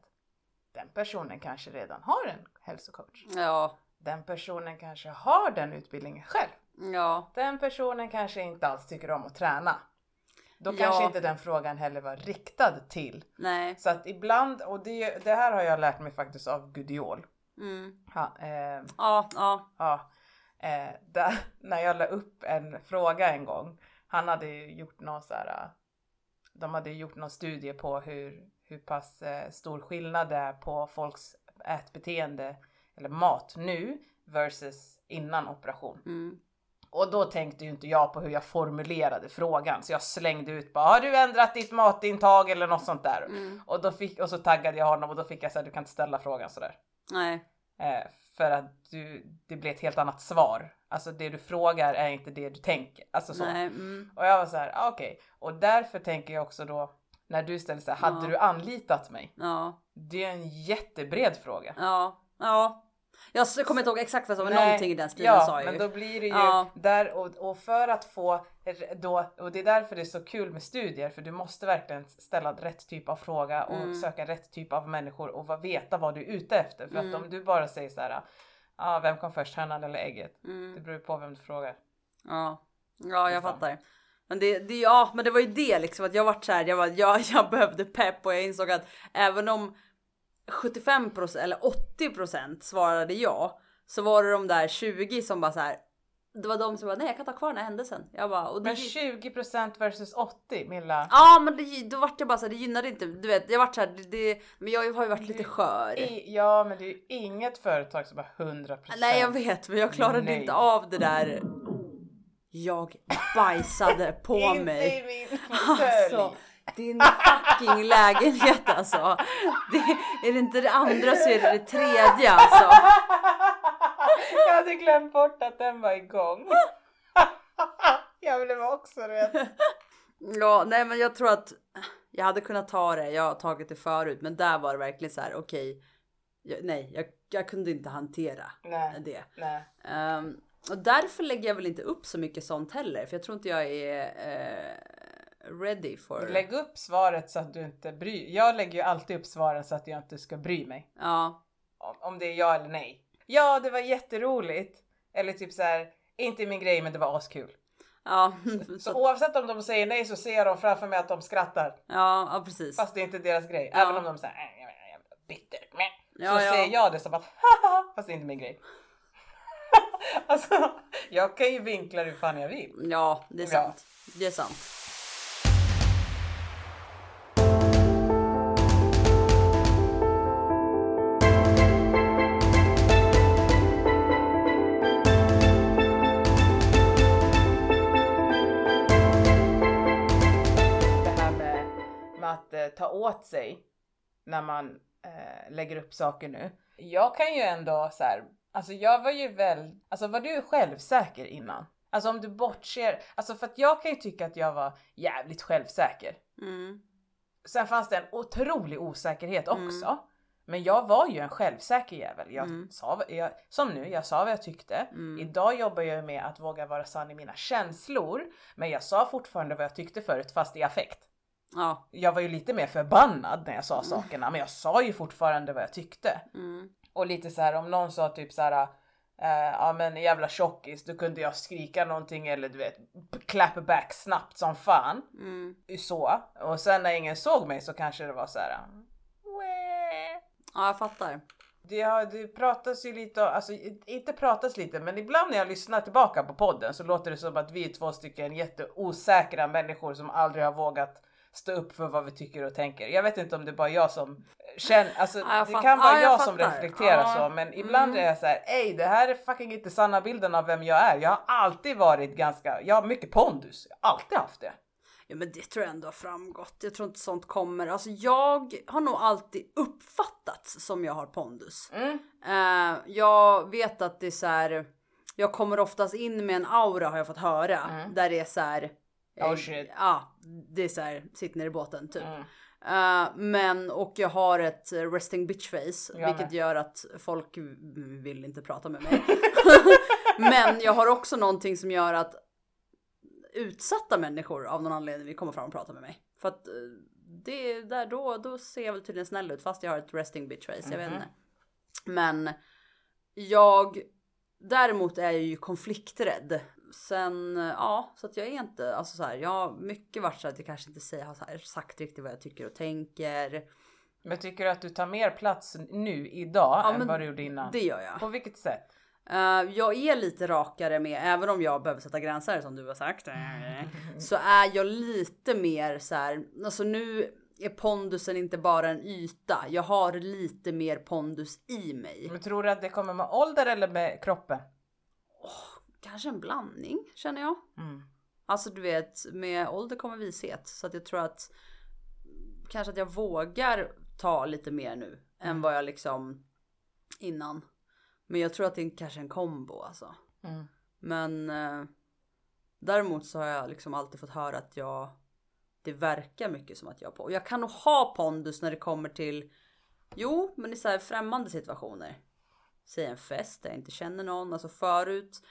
[SPEAKER 2] Den personen kanske redan har en hälsocoach.
[SPEAKER 1] ja,
[SPEAKER 2] Den personen kanske har den utbildningen själv.
[SPEAKER 1] ja.
[SPEAKER 2] Den personen kanske inte alls tycker om att träna. Då kanske
[SPEAKER 1] Ja.
[SPEAKER 2] inte den frågan heller var riktad till.
[SPEAKER 1] Nej.
[SPEAKER 2] Så att ibland, och det, det här har jag lärt mig faktiskt av Gudiol.
[SPEAKER 1] Mm.
[SPEAKER 2] Ha, eh,
[SPEAKER 1] Ja, ja.
[SPEAKER 2] Ja. Eh, där, när jag la upp en fråga en gång. Han hade ju gjort någon så här. eh, De hade ju gjort någon studie på hur, hur pass eh, stor skillnad det är på folks ätbeteende eller mat nu versus innan operation.
[SPEAKER 1] Mm.
[SPEAKER 2] Och då tänkte ju inte jag på hur jag formulerade frågan så jag slängde ut bara har du ändrat ditt matintag eller något sånt där.
[SPEAKER 1] mm,
[SPEAKER 2] Och, då fick, och så taggade jag honom och då fick jag säga du kan inte ställa frågan sådär.
[SPEAKER 1] Nej.
[SPEAKER 2] Eh, för att du, det blir ett helt annat svar. Alltså det du frågar är inte det du tänker. Alltså så.
[SPEAKER 1] Nej. Mm.
[SPEAKER 2] Och jag var så här, ah, okej. Och därför tänker jag också då, när du ställer så här, hade
[SPEAKER 1] Ja.
[SPEAKER 2] du anlitat mig?
[SPEAKER 1] Ja.
[SPEAKER 2] Det är en jättebred fråga.
[SPEAKER 1] Ja. Ja. Jag s- kommer inte ihåg exakt vad som var
[SPEAKER 2] Nej,
[SPEAKER 1] någonting i den stilen
[SPEAKER 2] ja,
[SPEAKER 1] sa jag
[SPEAKER 2] men
[SPEAKER 1] ju.
[SPEAKER 2] då blir det ju
[SPEAKER 1] Ja.
[SPEAKER 2] där och, och för att få r- då, och det är därför det är så kul med studier för du måste verkligen ställa rätt typ av fråga och
[SPEAKER 1] Mm.
[SPEAKER 2] söka rätt typ av människor och vad, veta vad du är ute efter. För
[SPEAKER 1] Mm.
[SPEAKER 2] att om du bara säger så här, ah, vem kom först hönan eller ägget? Det beror ju på vem du frågar.
[SPEAKER 1] Mm, Ja. Ja, jag fattar. Men det, det, ja, men det var ju det liksom att jag vart såhär, jag, var, jag, jag behövde pepp och jag insåg att även om 75% eller 80% svarade ja, så var det de där 20 som bara så här. Det var de som bara nej jag kan ta kvar den här händelsen. Jag bara, och det
[SPEAKER 2] Men 20% versus 80 Milla.
[SPEAKER 1] Ja men det, då vart jag bara såhär, det gynnade inte, du vet jag vart såhär, det, det, men jag har ju varit lite skör.
[SPEAKER 2] I, ja men det är ju inget företag som har 100%.
[SPEAKER 1] Nej jag vet men jag klarade
[SPEAKER 2] Nej.
[SPEAKER 1] inte av det där. Jag bajsade på
[SPEAKER 2] inte
[SPEAKER 1] mig.
[SPEAKER 2] i min fåtölj.
[SPEAKER 1] Alltså din fucking lägenhet alltså. Det, är det inte det andra så är det det tredje alltså.
[SPEAKER 2] Jag hade glömt bort att den var igång. Jag blev också rädd.
[SPEAKER 1] Ja nej men jag tror att jag hade kunnat ta det, jag har tagit det förut men där var det verkligen så här: okej. jag, nej jag, jag kunde inte hantera
[SPEAKER 2] Nej.
[SPEAKER 1] det.
[SPEAKER 2] Nej.
[SPEAKER 1] Ehm, och därför lägger jag väl inte upp så mycket sånt heller för jag tror inte jag är eh, ready for...
[SPEAKER 2] Lägg upp svaret så att du inte bryr Jag lägger ju alltid upp svaren så att jag inte ska bry mig.
[SPEAKER 1] Ja.
[SPEAKER 2] Om, om det är ja eller nej. Ja, det var jätteroligt. Eller typ så här, inte min grej men det var askul.
[SPEAKER 1] Ja,
[SPEAKER 2] Så oavsett om de säger nej så ser de framför mig att de skrattar.
[SPEAKER 1] ja, ja precis.
[SPEAKER 2] Fast det är inte deras grej.
[SPEAKER 1] Ja.
[SPEAKER 2] Även om de säger "Äh, jag är jävla bitter. Meh."
[SPEAKER 1] Ja,
[SPEAKER 2] så
[SPEAKER 1] ja.
[SPEAKER 2] säger jag det som att haha, fast det är inte min grej. alltså, jag kan ju vinkla det hur fan jag vill.
[SPEAKER 1] Ja, det är
[SPEAKER 2] Ja.
[SPEAKER 1] sant. Det är sant.
[SPEAKER 2] Det här med, med att eh, ta åt sig när man eh, lägger upp saker nu. Jag kan ju ändå så här, alltså jag var ju väl, alltså var du självsäker innan? Alltså om du bortser, alltså för att jag kan ju tycka att jag var jävligt självsäker.
[SPEAKER 1] Mm.
[SPEAKER 2] Sen fanns det en otrolig osäkerhet också. Men jag var ju en självsäker jävel. Jag sa, vad- jag, som nu, jag sa vad jag tyckte. Idag jobbar jag med att våga vara sann i mina känslor. Men jag sa fortfarande vad jag tyckte förut fast i affekt.
[SPEAKER 1] Ja.
[SPEAKER 2] Jag var ju lite mer förbannad när jag sa sakerna men jag sa ju fortfarande vad jag tyckte.
[SPEAKER 1] Mm.
[SPEAKER 2] Och lite så här om någon sa typ så här. eh, Ja men jävla tjockis, då kunde jag skrika någonting eller du vet clap back snabbt som fan
[SPEAKER 1] Mm.
[SPEAKER 2] så. Och sen när ingen såg mig så kanske det var så här. "Wee."
[SPEAKER 1] Ja, jag fattar.
[SPEAKER 2] Det, har, det pratas ju lite, om- alltså i- inte pratas lite, men ibland när jag lyssnar tillbaka på podden så låter det som att vi är två stycken jätteosäkra människor som aldrig har vågat stå upp för vad vi tycker och tänker. Jag vet inte om det är bara jag som känner, alltså
[SPEAKER 1] Ja, jag
[SPEAKER 2] det
[SPEAKER 1] fatt-
[SPEAKER 2] kan vara
[SPEAKER 1] ja, jag
[SPEAKER 2] jag, som
[SPEAKER 1] fattar.
[SPEAKER 2] reflekterar
[SPEAKER 1] Ja. Mm.
[SPEAKER 2] så, men ibland är jag så här, ej det här är fucking inte sanna bilden av vem jag är. Jag har alltid varit ganska, jag har mycket pondus, jag har alltid haft det.
[SPEAKER 1] Ja men det tror jag ändå har framgått. Jag tror inte sånt kommer. Alltså jag har nog alltid uppfattats som jag har pondus.
[SPEAKER 2] Mm.
[SPEAKER 1] Eh, jag vet att det är så här. Jag kommer oftast in med en aura har jag fått höra. Där det är så här. eh,
[SPEAKER 2] Mm. Oh, shit.
[SPEAKER 1] Ja, det är så här. Sitt ner i båten typ.
[SPEAKER 2] Mm.
[SPEAKER 1] Eh, men och jag har ett eh, resting bitch face.
[SPEAKER 2] Jag
[SPEAKER 1] vilket
[SPEAKER 2] med.
[SPEAKER 1] gör att folk v- vill inte prata med mig. men jag har också någonting som gör att utsatta människor av någon anledning vill komma fram och prata med mig. För att eh, det är där då, då ser jag väl tydligen snäll ut fast jag har ett resting bitch face. Jag vet
[SPEAKER 2] Mhm.
[SPEAKER 1] inte. Men jag däremot är jag ju konflikträdd. Sen ja, så att jag är inte alltså så här. Jag har mycket varit så att jag kanske inte säger har så här, sagt riktigt vad jag tycker och tänker.
[SPEAKER 2] Men tycker du att du tar mer plats nu idag
[SPEAKER 1] Ja, men
[SPEAKER 2] än vad du gjorde innan?
[SPEAKER 1] Det gör jag.
[SPEAKER 2] På vilket sätt?
[SPEAKER 1] Eh, jag är lite rakare med, även om jag behöver sätta gränser som du har sagt, eh, så är jag lite mer så här. Alltså nu är pondusen inte bara en yta. Jag har lite mer pondus i mig.
[SPEAKER 2] Men tror du att det kommer med ålder eller med kroppen?
[SPEAKER 1] Kanske en blandning känner jag.
[SPEAKER 2] Mm.
[SPEAKER 1] Alltså du vet, med ålder kommer vishet. Så att jag tror att kanske att jag vågar ta lite mer nu än vad jag liksom innan. Men jag tror att det är kanske en kombo alltså.
[SPEAKER 2] Mm.
[SPEAKER 1] Men eh, däremot så har jag liksom alltid fått höra att jag det verkar mycket som att jag har på. Och jag kan nog ha pondus när det kommer till jo, men i så här främmande situationer. Säg en fest där jag inte känner någon. Alltså förut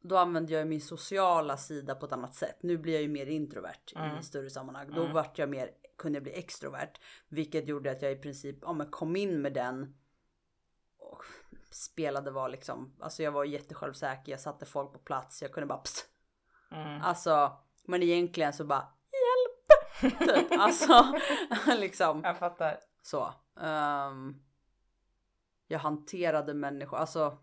[SPEAKER 1] då använde jag ju min sociala sida på ett annat sätt. Nu blir jag ju mer introvert i större sammanhang. Då vart jag mer, kunde jag bli extrovert. Vilket gjorde att jag i princip ja, men kom in med den och spelade var liksom, alltså jag var jättesjälvsäker, jag satte folk på plats, jag kunde bara pst.
[SPEAKER 2] Mm.
[SPEAKER 1] Alltså, men egentligen så bara hjälp! Typ. Alltså, liksom
[SPEAKER 2] Jag fattar.
[SPEAKER 1] så. Ehm, jag hanterade människor, alltså.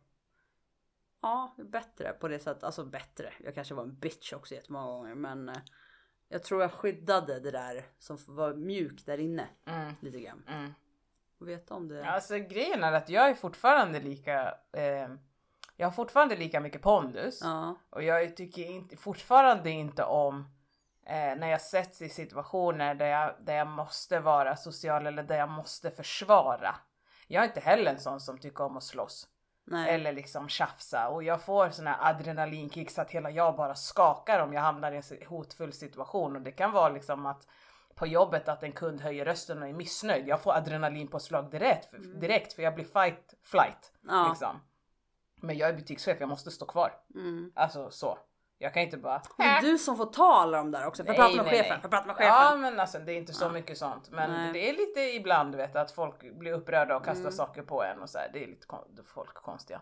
[SPEAKER 1] Ja, bättre på det sättet, alltså bättre. Jag kanske var en bitch också jättemånga gånger, men eh, jag tror jag skyddade det där som var mjukt där inne
[SPEAKER 2] Mm.
[SPEAKER 1] lite grann.
[SPEAKER 2] Mm.
[SPEAKER 1] Och veta om det.
[SPEAKER 2] Alltså grejen är att jag är fortfarande lika, eh, jag har fortfarande lika mycket pondus.
[SPEAKER 1] Ja.
[SPEAKER 2] Och jag tycker inte, fortfarande inte om eh, när jag sätts i situationer där jag, där jag måste vara social eller där jag måste försvara. Jag är inte heller en sån som tycker om att slåss
[SPEAKER 1] Nej.
[SPEAKER 2] eller liksom tjafsa och jag får såna här adrenalinkicks att hela jag bara skakar om jag hamnar i en si- hotfull situation och det kan vara liksom att på jobbet att en kund höjer rösten och är missnöjd. Jag får adrenalin på slag direkt, för- direkt för jag blir fight flight
[SPEAKER 1] Mm. Ja.
[SPEAKER 2] liksom. Men jag är butikschef, jag måste stå kvar.
[SPEAKER 1] Mm.
[SPEAKER 2] Alltså så. Jag kan inte bara...
[SPEAKER 1] Det är du som får ta alla de där också. För jag pratar med chefen. För jag pratar med chefen.
[SPEAKER 2] Ja men alltså det är inte så mycket sånt. Men
[SPEAKER 1] Nej. Mm.
[SPEAKER 2] det är lite ibland du vet att folk blir upprörda och kastar saker på en och så här. Det är lite kon- folk är konstiga.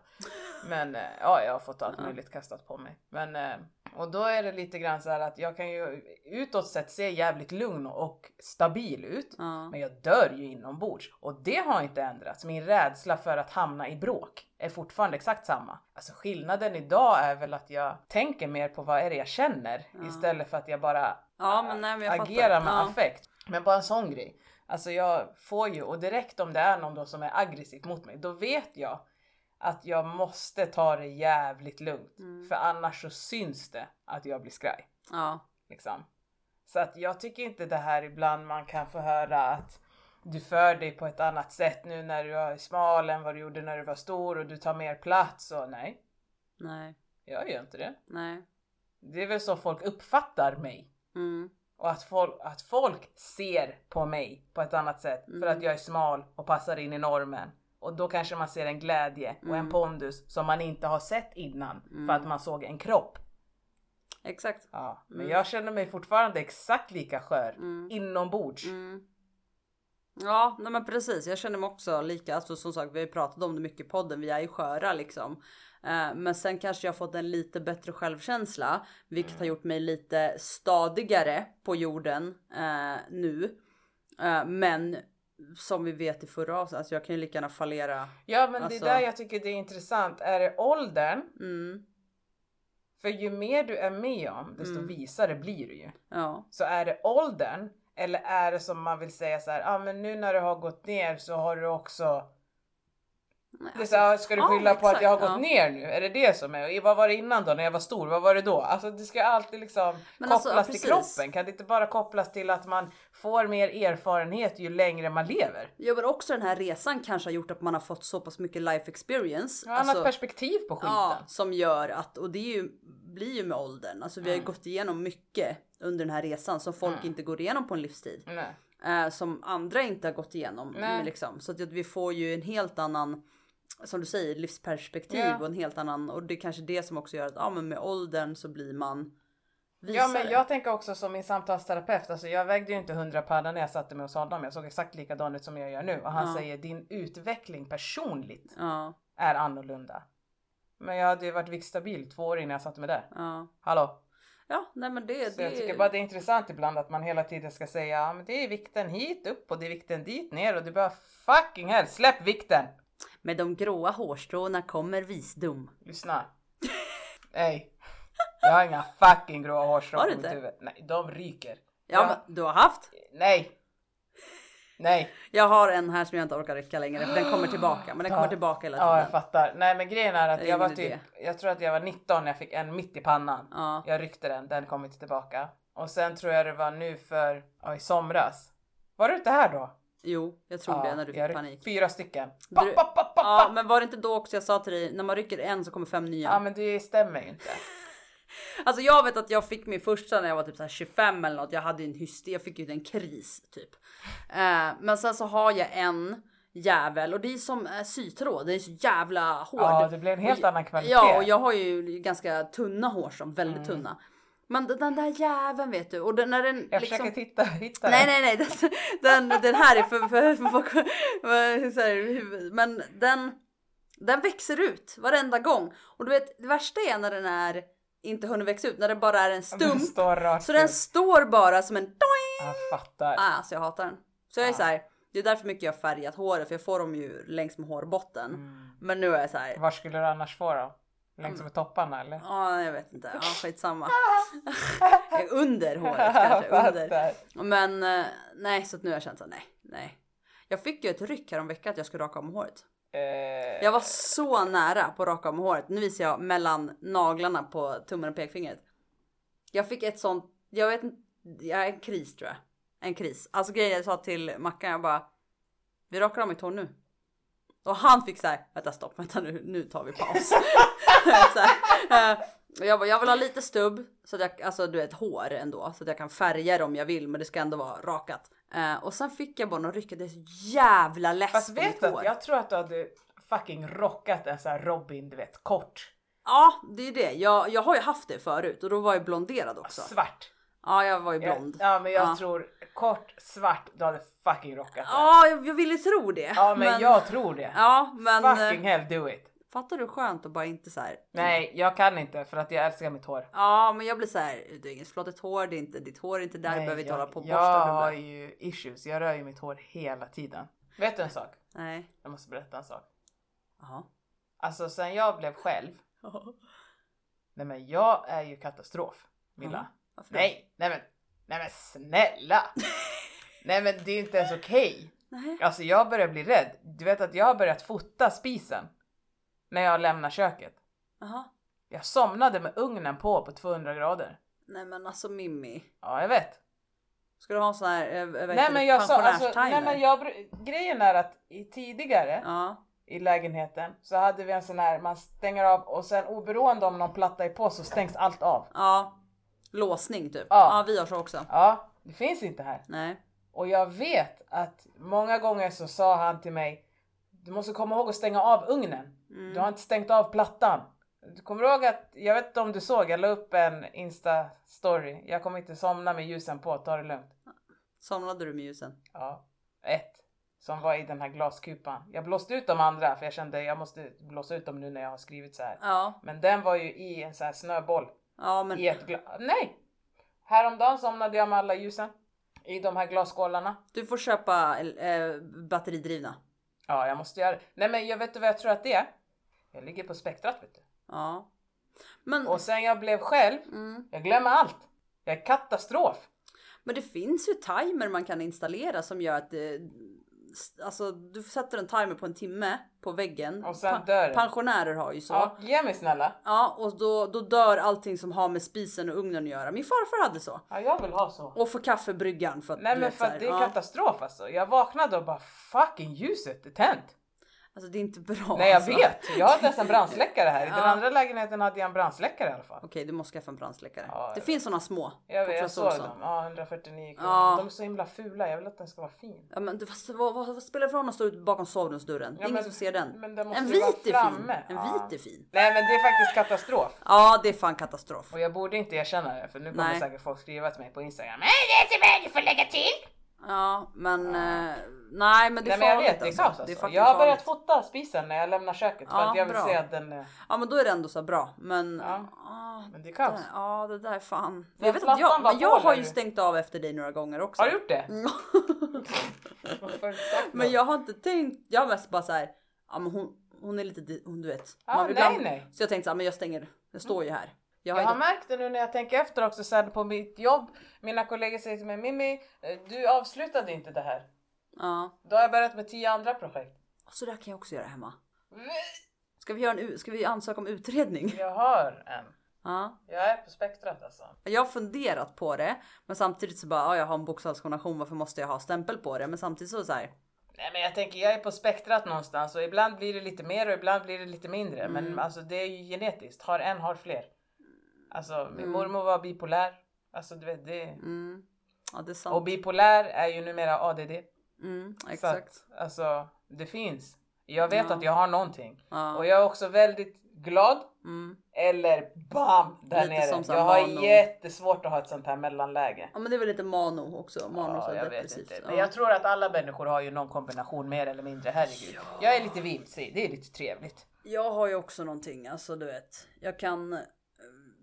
[SPEAKER 2] Men eh, ja, jag har fått allt möjligt kastat på mig. Men eh, och då är det lite grann så här att jag kan ju utåt sett se jävligt lugn och stabil ut.
[SPEAKER 1] Ja.
[SPEAKER 2] Men jag dör ju inombords och det har inte ändrats. Min rädsla för att hamna i bråk är fortfarande exakt samma. Alltså skillnaden idag är väl att jag tänker mer på vad är det jag känner istället för att jag bara
[SPEAKER 1] Ja, men nej, men jag fattar.
[SPEAKER 2] agerar med
[SPEAKER 1] Ja.
[SPEAKER 2] affekt. Men bara en sån grej. Alltså jag får ju och direkt om det är någon då som är aggressiv mot mig, då vet jag att jag måste ta det jävligt lugnt
[SPEAKER 1] Mm.
[SPEAKER 2] för annars så syns det att jag blir skraj.
[SPEAKER 1] Ja.
[SPEAKER 2] Liksom. Så att jag tycker inte det här ibland man kan få höra att du för dig på ett annat sätt nu när du är smal än vad du gjorde när du var stor och du tar mer plats och nej,
[SPEAKER 1] Nej.
[SPEAKER 2] jag gör inte det.
[SPEAKER 1] Nej.
[SPEAKER 2] Det är väl så folk uppfattar mig
[SPEAKER 1] Mm.
[SPEAKER 2] och att folk, att folk ser på mig på ett annat sätt för att jag är smal och passar in i normen. Och då kanske man ser en glädje och en pondus som man inte har sett innan för att man såg en kropp.
[SPEAKER 1] Exakt.
[SPEAKER 2] Ja, men jag känner mig fortfarande exakt lika skör inombords.
[SPEAKER 1] Mm. Ja, nej men precis. Jag känner mig också lika. Alltså, som sagt, vi har ju pratat om det mycket i podden. Vi är ju sköra liksom. Eh, Men sen kanske jag har fått en lite bättre självkänsla, vilket har gjort mig lite stadigare på jorden eh, nu. Eh, men som vi vet i förra avsnittet, alltså jag kan ju lika gärna fallera.
[SPEAKER 2] Ja men
[SPEAKER 1] Alltså-
[SPEAKER 2] det är där jag tycker det är intressant. Är det åldern?
[SPEAKER 1] Mm,
[SPEAKER 2] För ju mer du är med om desto visare blir du ju.
[SPEAKER 1] ja,
[SPEAKER 2] Så är det åldern eller är det som man vill säga så här, ja ah, men nu när du har gått ner så har du också
[SPEAKER 1] Nej,
[SPEAKER 2] Det är så, här, ska du
[SPEAKER 1] Ja,
[SPEAKER 2] skylla på att jag har
[SPEAKER 1] exakt,
[SPEAKER 2] gått ner nu? Är det det som är? Och Vad var det innan då när jag var stor? Vad var det då? Alltså det ska alltid liksom
[SPEAKER 1] Men alltså,
[SPEAKER 2] kopplas
[SPEAKER 1] ja,
[SPEAKER 2] till
[SPEAKER 1] precis.
[SPEAKER 2] kroppen. Kan det inte bara kopplas till att man får mer erfarenhet ju längre man lever?
[SPEAKER 1] Jag men också den här resan kanske har gjort att man har fått så pass mycket life experience. Alltså,
[SPEAKER 2] Annat perspektiv på skiten.
[SPEAKER 1] ja, som gör att, och det är ju, blir ju med åldern. Alltså vi har
[SPEAKER 2] Mm.
[SPEAKER 1] ju gått igenom mycket under den här resan som folk inte går igenom på en livstid.
[SPEAKER 2] Nej.
[SPEAKER 1] eh, som andra inte har gått igenom.
[SPEAKER 2] Nej.
[SPEAKER 1] Liksom. Så att vi får ju en helt annan, som du säger, livsperspektiv
[SPEAKER 2] Ja.
[SPEAKER 1] och en helt annan. Och det är kanske det som också gör att ja, men med åldern så blir man visare.
[SPEAKER 2] Ja men jag tänker också som min samtalsterapeut, alltså jag vägde ju inte 100 panna när jag satte mig hos honom. Jag såg exakt likadan ut som jag gör nu och han
[SPEAKER 1] Ja.
[SPEAKER 2] säger din utveckling personligt
[SPEAKER 1] Ja,
[SPEAKER 2] är annorlunda. Men jag hade ju varit viktstabil två år innan jag satte mig där.
[SPEAKER 1] ja.
[SPEAKER 2] Hallå?
[SPEAKER 1] Ja, nej men det...
[SPEAKER 2] Så
[SPEAKER 1] det
[SPEAKER 2] jag tycker bara det är intressant ibland att man hela tiden ska säga "Ja, men det är vikten hit upp och det är vikten dit ner och du bara fucking hell släpp vikten!
[SPEAKER 1] Med de gråa hårstråna kommer visdom.
[SPEAKER 2] Lyssna. Nej. Jag har inga fucking gråa hårstrån
[SPEAKER 1] Har du
[SPEAKER 2] på mitt
[SPEAKER 1] inte?
[SPEAKER 2] huvud. Nej, de ryker.
[SPEAKER 1] Ja,
[SPEAKER 2] Ja.
[SPEAKER 1] Men, du har haft.
[SPEAKER 2] Nej. Nej.
[SPEAKER 1] Jag har en här som jag inte orkar räcka längre för den kommer tillbaka. Men den kommer
[SPEAKER 2] Ja.
[SPEAKER 1] tillbaka hela
[SPEAKER 2] Ja, jag
[SPEAKER 1] tiden.
[SPEAKER 2] fattar. Nej, men grejen är
[SPEAKER 1] Det
[SPEAKER 2] att
[SPEAKER 1] är
[SPEAKER 2] jag var
[SPEAKER 1] ingen idé.
[SPEAKER 2] typ, jag tror att jag var 19 när jag fick en mitt i pannan.
[SPEAKER 1] Ja,
[SPEAKER 2] Jag ryckte den, den kom inte tillbaka. Och sen tror jag det var nu för, ja, i somras. Var du inte här då?
[SPEAKER 1] jo, jag tror det när du
[SPEAKER 2] jag
[SPEAKER 1] fick
[SPEAKER 2] ryck-
[SPEAKER 1] panik.
[SPEAKER 2] Fyra stycken.
[SPEAKER 1] Du-
[SPEAKER 2] Pop, pop, pop, pop,
[SPEAKER 1] Ja,
[SPEAKER 2] pop.
[SPEAKER 1] men var det inte då också jag sa till dig när man rycker en så kommer fem nya?
[SPEAKER 2] Ja, men det stämmer ju inte.
[SPEAKER 1] Alltså jag vet att jag fick min första när jag var typ så här 25 eller något. Jag hade ju en hysteri, jag fick ju en kris typ. Eh, men sen så har jag en jävel och det är som eh, sytråd, den är så jävla hård.
[SPEAKER 2] Ja, det blir en helt
[SPEAKER 1] Och-
[SPEAKER 2] annan kvalitet. Mm.
[SPEAKER 1] Ja, och jag har ju ganska tunna hårstrån, väldigt tunna. Men den- den där jäveln vet du och den, när den
[SPEAKER 2] Jag försöker titta, hitta
[SPEAKER 1] Liksom- Nej
[SPEAKER 2] den.
[SPEAKER 1] nej nej, den, den, den här är för, för, för, för, för så här, men den, den växer ut varenda gång. Och du vet det värsta är när den är inte hunnit växa ut, när den bara är en
[SPEAKER 2] Den
[SPEAKER 1] stump.
[SPEAKER 2] står rakt
[SPEAKER 1] Så den
[SPEAKER 2] ut.
[SPEAKER 1] står bara som en doing.
[SPEAKER 2] Jag fattar.
[SPEAKER 1] Ah, alltså jag hatar den. Så jag är så här, det är därför mycket jag har färgat håret för jag får dem ju längs med hårbotten.
[SPEAKER 2] Mm.
[SPEAKER 1] Men nu är jag så här,
[SPEAKER 2] Var skulle du annars få dem? Längs med topparna eller?
[SPEAKER 1] Mm. ja ah, jag vet inte, ja skitsamma. Under håret kanske,
[SPEAKER 2] Jag
[SPEAKER 1] under.
[SPEAKER 2] fattar.
[SPEAKER 1] Men eh, nej, så att nu har jag känt så här, nej, nej. Jag fick ju ett ryck häromveckan att jag skulle raka om håret.
[SPEAKER 2] Eh,
[SPEAKER 1] Jag var så nära på att raka om håret. Nu visar jag mellan naglarna på tummen och pekfingret. Jag fick ett sånt, jag vet inte, jag en kris tror jag. En kris. Alltså grejen jag sa till Mackan, jag bara, vi rakar om mitt hår nu. Och han fick så här, vänta stopp, vänta nu, nu tar vi paus. så här, eh, och jag bara, jag vill ha lite stubb, så att jag, alltså du vet hår ändå, så att jag kan färga det om jag vill, men det ska ändå vara rakat. Eh, och sen fick jag bara någon ryck, det är så jävla less
[SPEAKER 2] Fast
[SPEAKER 1] på
[SPEAKER 2] vet
[SPEAKER 1] mitt
[SPEAKER 2] du
[SPEAKER 1] hår.
[SPEAKER 2] att jag tror att du hade fucking rockat en sån här Robin, du vet, kort.
[SPEAKER 1] Ja, det är det. Jag, jag har ju haft det förut och då var jag blonderad också.
[SPEAKER 2] Svart.
[SPEAKER 1] Ja, jag var ju blond.
[SPEAKER 2] Alltså. Ja men jag
[SPEAKER 1] Ja.
[SPEAKER 2] tror kort, svart, du hade fucking rockat den.
[SPEAKER 1] Ja, jag, jag ville tro det.
[SPEAKER 2] Ja men, jag tror det.
[SPEAKER 1] Ja, men...
[SPEAKER 2] fucking
[SPEAKER 1] eh,
[SPEAKER 2] hell do it.
[SPEAKER 1] Fattar du skönt att bara inte så här.
[SPEAKER 2] Nej jag kan inte för att jag älskar mitt hår.
[SPEAKER 1] Ja, men jag blir så här. Det är inget flottigt hår, det är inte, ditt hår är inte där,
[SPEAKER 2] Nej,
[SPEAKER 1] behöver inte
[SPEAKER 2] jag,
[SPEAKER 1] hålla på och
[SPEAKER 2] Jag
[SPEAKER 1] borsta. bla,
[SPEAKER 2] har
[SPEAKER 1] bla.
[SPEAKER 2] ju issues, jag rör ju mitt hår hela tiden. Vet du en sak?
[SPEAKER 1] Nej.
[SPEAKER 2] Jag måste berätta en sak.
[SPEAKER 1] Jaha.
[SPEAKER 2] Alltså sen jag blev själv, nej men jag är ju katastrof. Milla.
[SPEAKER 1] Mm. Varför då?
[SPEAKER 2] Nej, nej men, nej men snälla! nej men det är inte ens okej.
[SPEAKER 1] Nej.
[SPEAKER 2] Alltså jag börjar bli rädd. Du vet att jag har börjat fota spisen när jag lämnar köket.
[SPEAKER 1] Jaha.
[SPEAKER 2] Jag somnade med ugnen på på 200 grader.
[SPEAKER 1] Nej men alltså Mimmi.
[SPEAKER 2] Ja, jag vet.
[SPEAKER 1] Ska du ha en sån här eh, vad
[SPEAKER 2] Nej
[SPEAKER 1] heter
[SPEAKER 2] men
[SPEAKER 1] det?
[SPEAKER 2] jag sa, alltså,
[SPEAKER 1] Pensionärstimer?
[SPEAKER 2] nej men jag, bru- grejen är att i, tidigare
[SPEAKER 1] Ja.
[SPEAKER 2] i lägenheten så hade vi en sån här, man stänger av och sen oberoende om någon platta är på så stängs allt av.
[SPEAKER 1] Ja. Låsning typ.
[SPEAKER 2] Ja.
[SPEAKER 1] ja, vi har så också.
[SPEAKER 2] Ja, det finns inte här.
[SPEAKER 1] Nej.
[SPEAKER 2] Och jag vet att många gånger så sa han till mig Du måste komma ihåg att stänga av ugnen.
[SPEAKER 1] Mm.
[SPEAKER 2] Du har inte stängt av plattan. Du kommer ihåg att, jag vet inte om du såg, jag la upp en Insta-story. Jag kommer inte somna med ljusen på, ta det lugnt.
[SPEAKER 1] Somnade du med ljusen?
[SPEAKER 2] Ja, ett. Som var i den här glaskupan. Jag blåste ut de andra för jag kände jag måste blåsa ut dem nu när jag har skrivit så här.
[SPEAKER 1] Ja.
[SPEAKER 2] Men den var ju i en sån här snöboll
[SPEAKER 1] Ja men.
[SPEAKER 2] i ett glas. Nej! Häromdagen somnade jag med alla ljusen i de här glasskålarna.
[SPEAKER 1] Du får köpa eh, batteridrivna.
[SPEAKER 2] Ja, jag måste göra det. Nej, men jag vet du vad jag tror att det är? Jag ligger på spektrat vet du.
[SPEAKER 1] Ja. Men,
[SPEAKER 2] Och sen jag blev själv,
[SPEAKER 1] mm,
[SPEAKER 2] jag glömmer allt. Jag är katastrof.
[SPEAKER 1] men det finns ju timer man kan installera som gör att det, alltså du sätter en timer på en timme på väggen.
[SPEAKER 2] Och sen dör den.
[SPEAKER 1] Pensionärer har ju så.
[SPEAKER 2] Ja, ge mig snälla.
[SPEAKER 1] Ja, och då, då dör allting som har med spisen och ugnen att göra. Min farfar hade så.
[SPEAKER 2] Ja, jag vill ha så.
[SPEAKER 1] Och för kaffebryggan. För att,
[SPEAKER 2] Nej
[SPEAKER 1] du
[SPEAKER 2] men
[SPEAKER 1] vet,
[SPEAKER 2] för
[SPEAKER 1] så här,
[SPEAKER 2] att det är
[SPEAKER 1] ja.
[SPEAKER 2] katastrof alltså. Jag vaknade och bara fucking ljuset är tänt.
[SPEAKER 1] Alltså det är inte bra.
[SPEAKER 2] Nej jag
[SPEAKER 1] alltså.
[SPEAKER 2] vet, jag hade nästan brandsläckare här. I den
[SPEAKER 1] Ja.
[SPEAKER 2] andra lägenheten hade jag en brandsläckare i alla fall.
[SPEAKER 1] Okej, du måste skaffa en brandsläckare.
[SPEAKER 2] Ja, jag
[SPEAKER 1] det
[SPEAKER 2] vet.
[SPEAKER 1] finns såna små.
[SPEAKER 2] Jag,
[SPEAKER 1] på
[SPEAKER 2] vet, jag
[SPEAKER 1] Clas
[SPEAKER 2] såg
[SPEAKER 1] Ohlson.
[SPEAKER 2] dem, ja 149 kronor.
[SPEAKER 1] Ja.
[SPEAKER 2] De är så himla fula, jag vill att den ska vara fin.
[SPEAKER 1] Ja, men du, fast, vad, vad, vad spelar det för roll om de står ute bakom sovrumsdörren? det är
[SPEAKER 2] Ja,
[SPEAKER 1] ingen
[SPEAKER 2] men-
[SPEAKER 1] som ser den.
[SPEAKER 2] men den måste
[SPEAKER 1] en
[SPEAKER 2] ju vara
[SPEAKER 1] vit är fin.
[SPEAKER 2] framme.
[SPEAKER 1] En
[SPEAKER 2] Ja.
[SPEAKER 1] vit är fin.
[SPEAKER 2] Nej men det är faktiskt katastrof.
[SPEAKER 1] Ja, det är fan katastrof.
[SPEAKER 2] Och jag borde inte erkänna det för nu kommer
[SPEAKER 1] Nej.
[SPEAKER 2] säkert folk skriva till mig på instagram. Nej det är inte mig, du får lägga till!
[SPEAKER 1] Ja, men eh, nej, men det är
[SPEAKER 2] Nej men jag
[SPEAKER 1] farligt.
[SPEAKER 2] vet, det är
[SPEAKER 1] alltså.
[SPEAKER 2] kaos
[SPEAKER 1] Det är
[SPEAKER 2] alltså.
[SPEAKER 1] faktiskt
[SPEAKER 2] Jag har börjat
[SPEAKER 1] farligt.
[SPEAKER 2] fota spisen när jag lämnar köket för
[SPEAKER 1] Ja,
[SPEAKER 2] att jag vill
[SPEAKER 1] bra.
[SPEAKER 2] se att den är...
[SPEAKER 1] Ja, men då är det ändå så här bra. Men
[SPEAKER 2] Ja.
[SPEAKER 1] ah,
[SPEAKER 2] Men det är
[SPEAKER 1] det,
[SPEAKER 2] kaos.
[SPEAKER 1] ja, det där är fan.
[SPEAKER 2] Den
[SPEAKER 1] Jag vet att jag,
[SPEAKER 2] plattan var
[SPEAKER 1] men
[SPEAKER 2] på,
[SPEAKER 1] jag har ju
[SPEAKER 2] eller?
[SPEAKER 1] stängt av efter dig några gånger också.
[SPEAKER 2] Har du gjort det? Varför har du inte sagt
[SPEAKER 1] Mm. Men
[SPEAKER 2] något?
[SPEAKER 1] jag har inte tänkt, jag har mest bara så här, ja men hon, hon är lite, di- hon du vet.
[SPEAKER 2] Ja,
[SPEAKER 1] Man vill
[SPEAKER 2] nej,
[SPEAKER 1] ibland-
[SPEAKER 2] nej.
[SPEAKER 1] Så jag tänkte så här, men jag stänger, jag står ju här. Jag har
[SPEAKER 2] Jag har
[SPEAKER 1] inte,
[SPEAKER 2] märkt det nu när jag tänker efter också sen på mitt jobb. Mina kollegor säger till mig Mimmi, eh, du avslutade inte det här.
[SPEAKER 1] ja.
[SPEAKER 2] Då har jag börjat med tio andra projekt.
[SPEAKER 1] Så där kan jag också göra hemma.
[SPEAKER 2] V-
[SPEAKER 1] Ska vi, göra en, u- ska vi ansöka om utredning?
[SPEAKER 2] Jag hör en.
[SPEAKER 1] Ja.
[SPEAKER 2] Jag är på spektrat alltså.
[SPEAKER 1] Jag har funderat på det, men samtidigt så bara, ja, jag har en bokstavskombination, varför måste jag ha stämpel på det? Men samtidigt så är det så här,
[SPEAKER 2] Nej men jag tänker jag är på spektrat någonstans och ibland blir det lite mer och ibland blir det lite mindre.
[SPEAKER 1] Mm.
[SPEAKER 2] Men alltså det är ju genetiskt. Har en har fler. Alltså min mormor var bipolär. Alltså du vet det.
[SPEAKER 1] mm, ja det är sant.
[SPEAKER 2] Och bipolär är ju numera ADD.
[SPEAKER 1] Mm,
[SPEAKER 2] Så
[SPEAKER 1] exakt.
[SPEAKER 2] att, alltså det finns. Jag vet
[SPEAKER 1] Ja.
[SPEAKER 2] att jag har någonting.
[SPEAKER 1] Ja.
[SPEAKER 2] Och jag är också väldigt glad
[SPEAKER 1] Mm.
[SPEAKER 2] eller BAM där
[SPEAKER 1] Lite som
[SPEAKER 2] nere.
[SPEAKER 1] så här
[SPEAKER 2] Jag har
[SPEAKER 1] mano.
[SPEAKER 2] jättesvårt att ha ett sånt här mellanläge.
[SPEAKER 1] Ja men det är väl lite mano också. Mano
[SPEAKER 2] Ja,
[SPEAKER 1] så
[SPEAKER 2] jag vet
[SPEAKER 1] depressivt.
[SPEAKER 2] inte.
[SPEAKER 1] Ja.
[SPEAKER 2] Men jag tror att alla människor har ju någon kombination mer eller mindre. Herregud. Jag är lite vilse. Det är lite trevligt.
[SPEAKER 1] Jag har ju också någonting, alltså du vet. Jag kan, eh,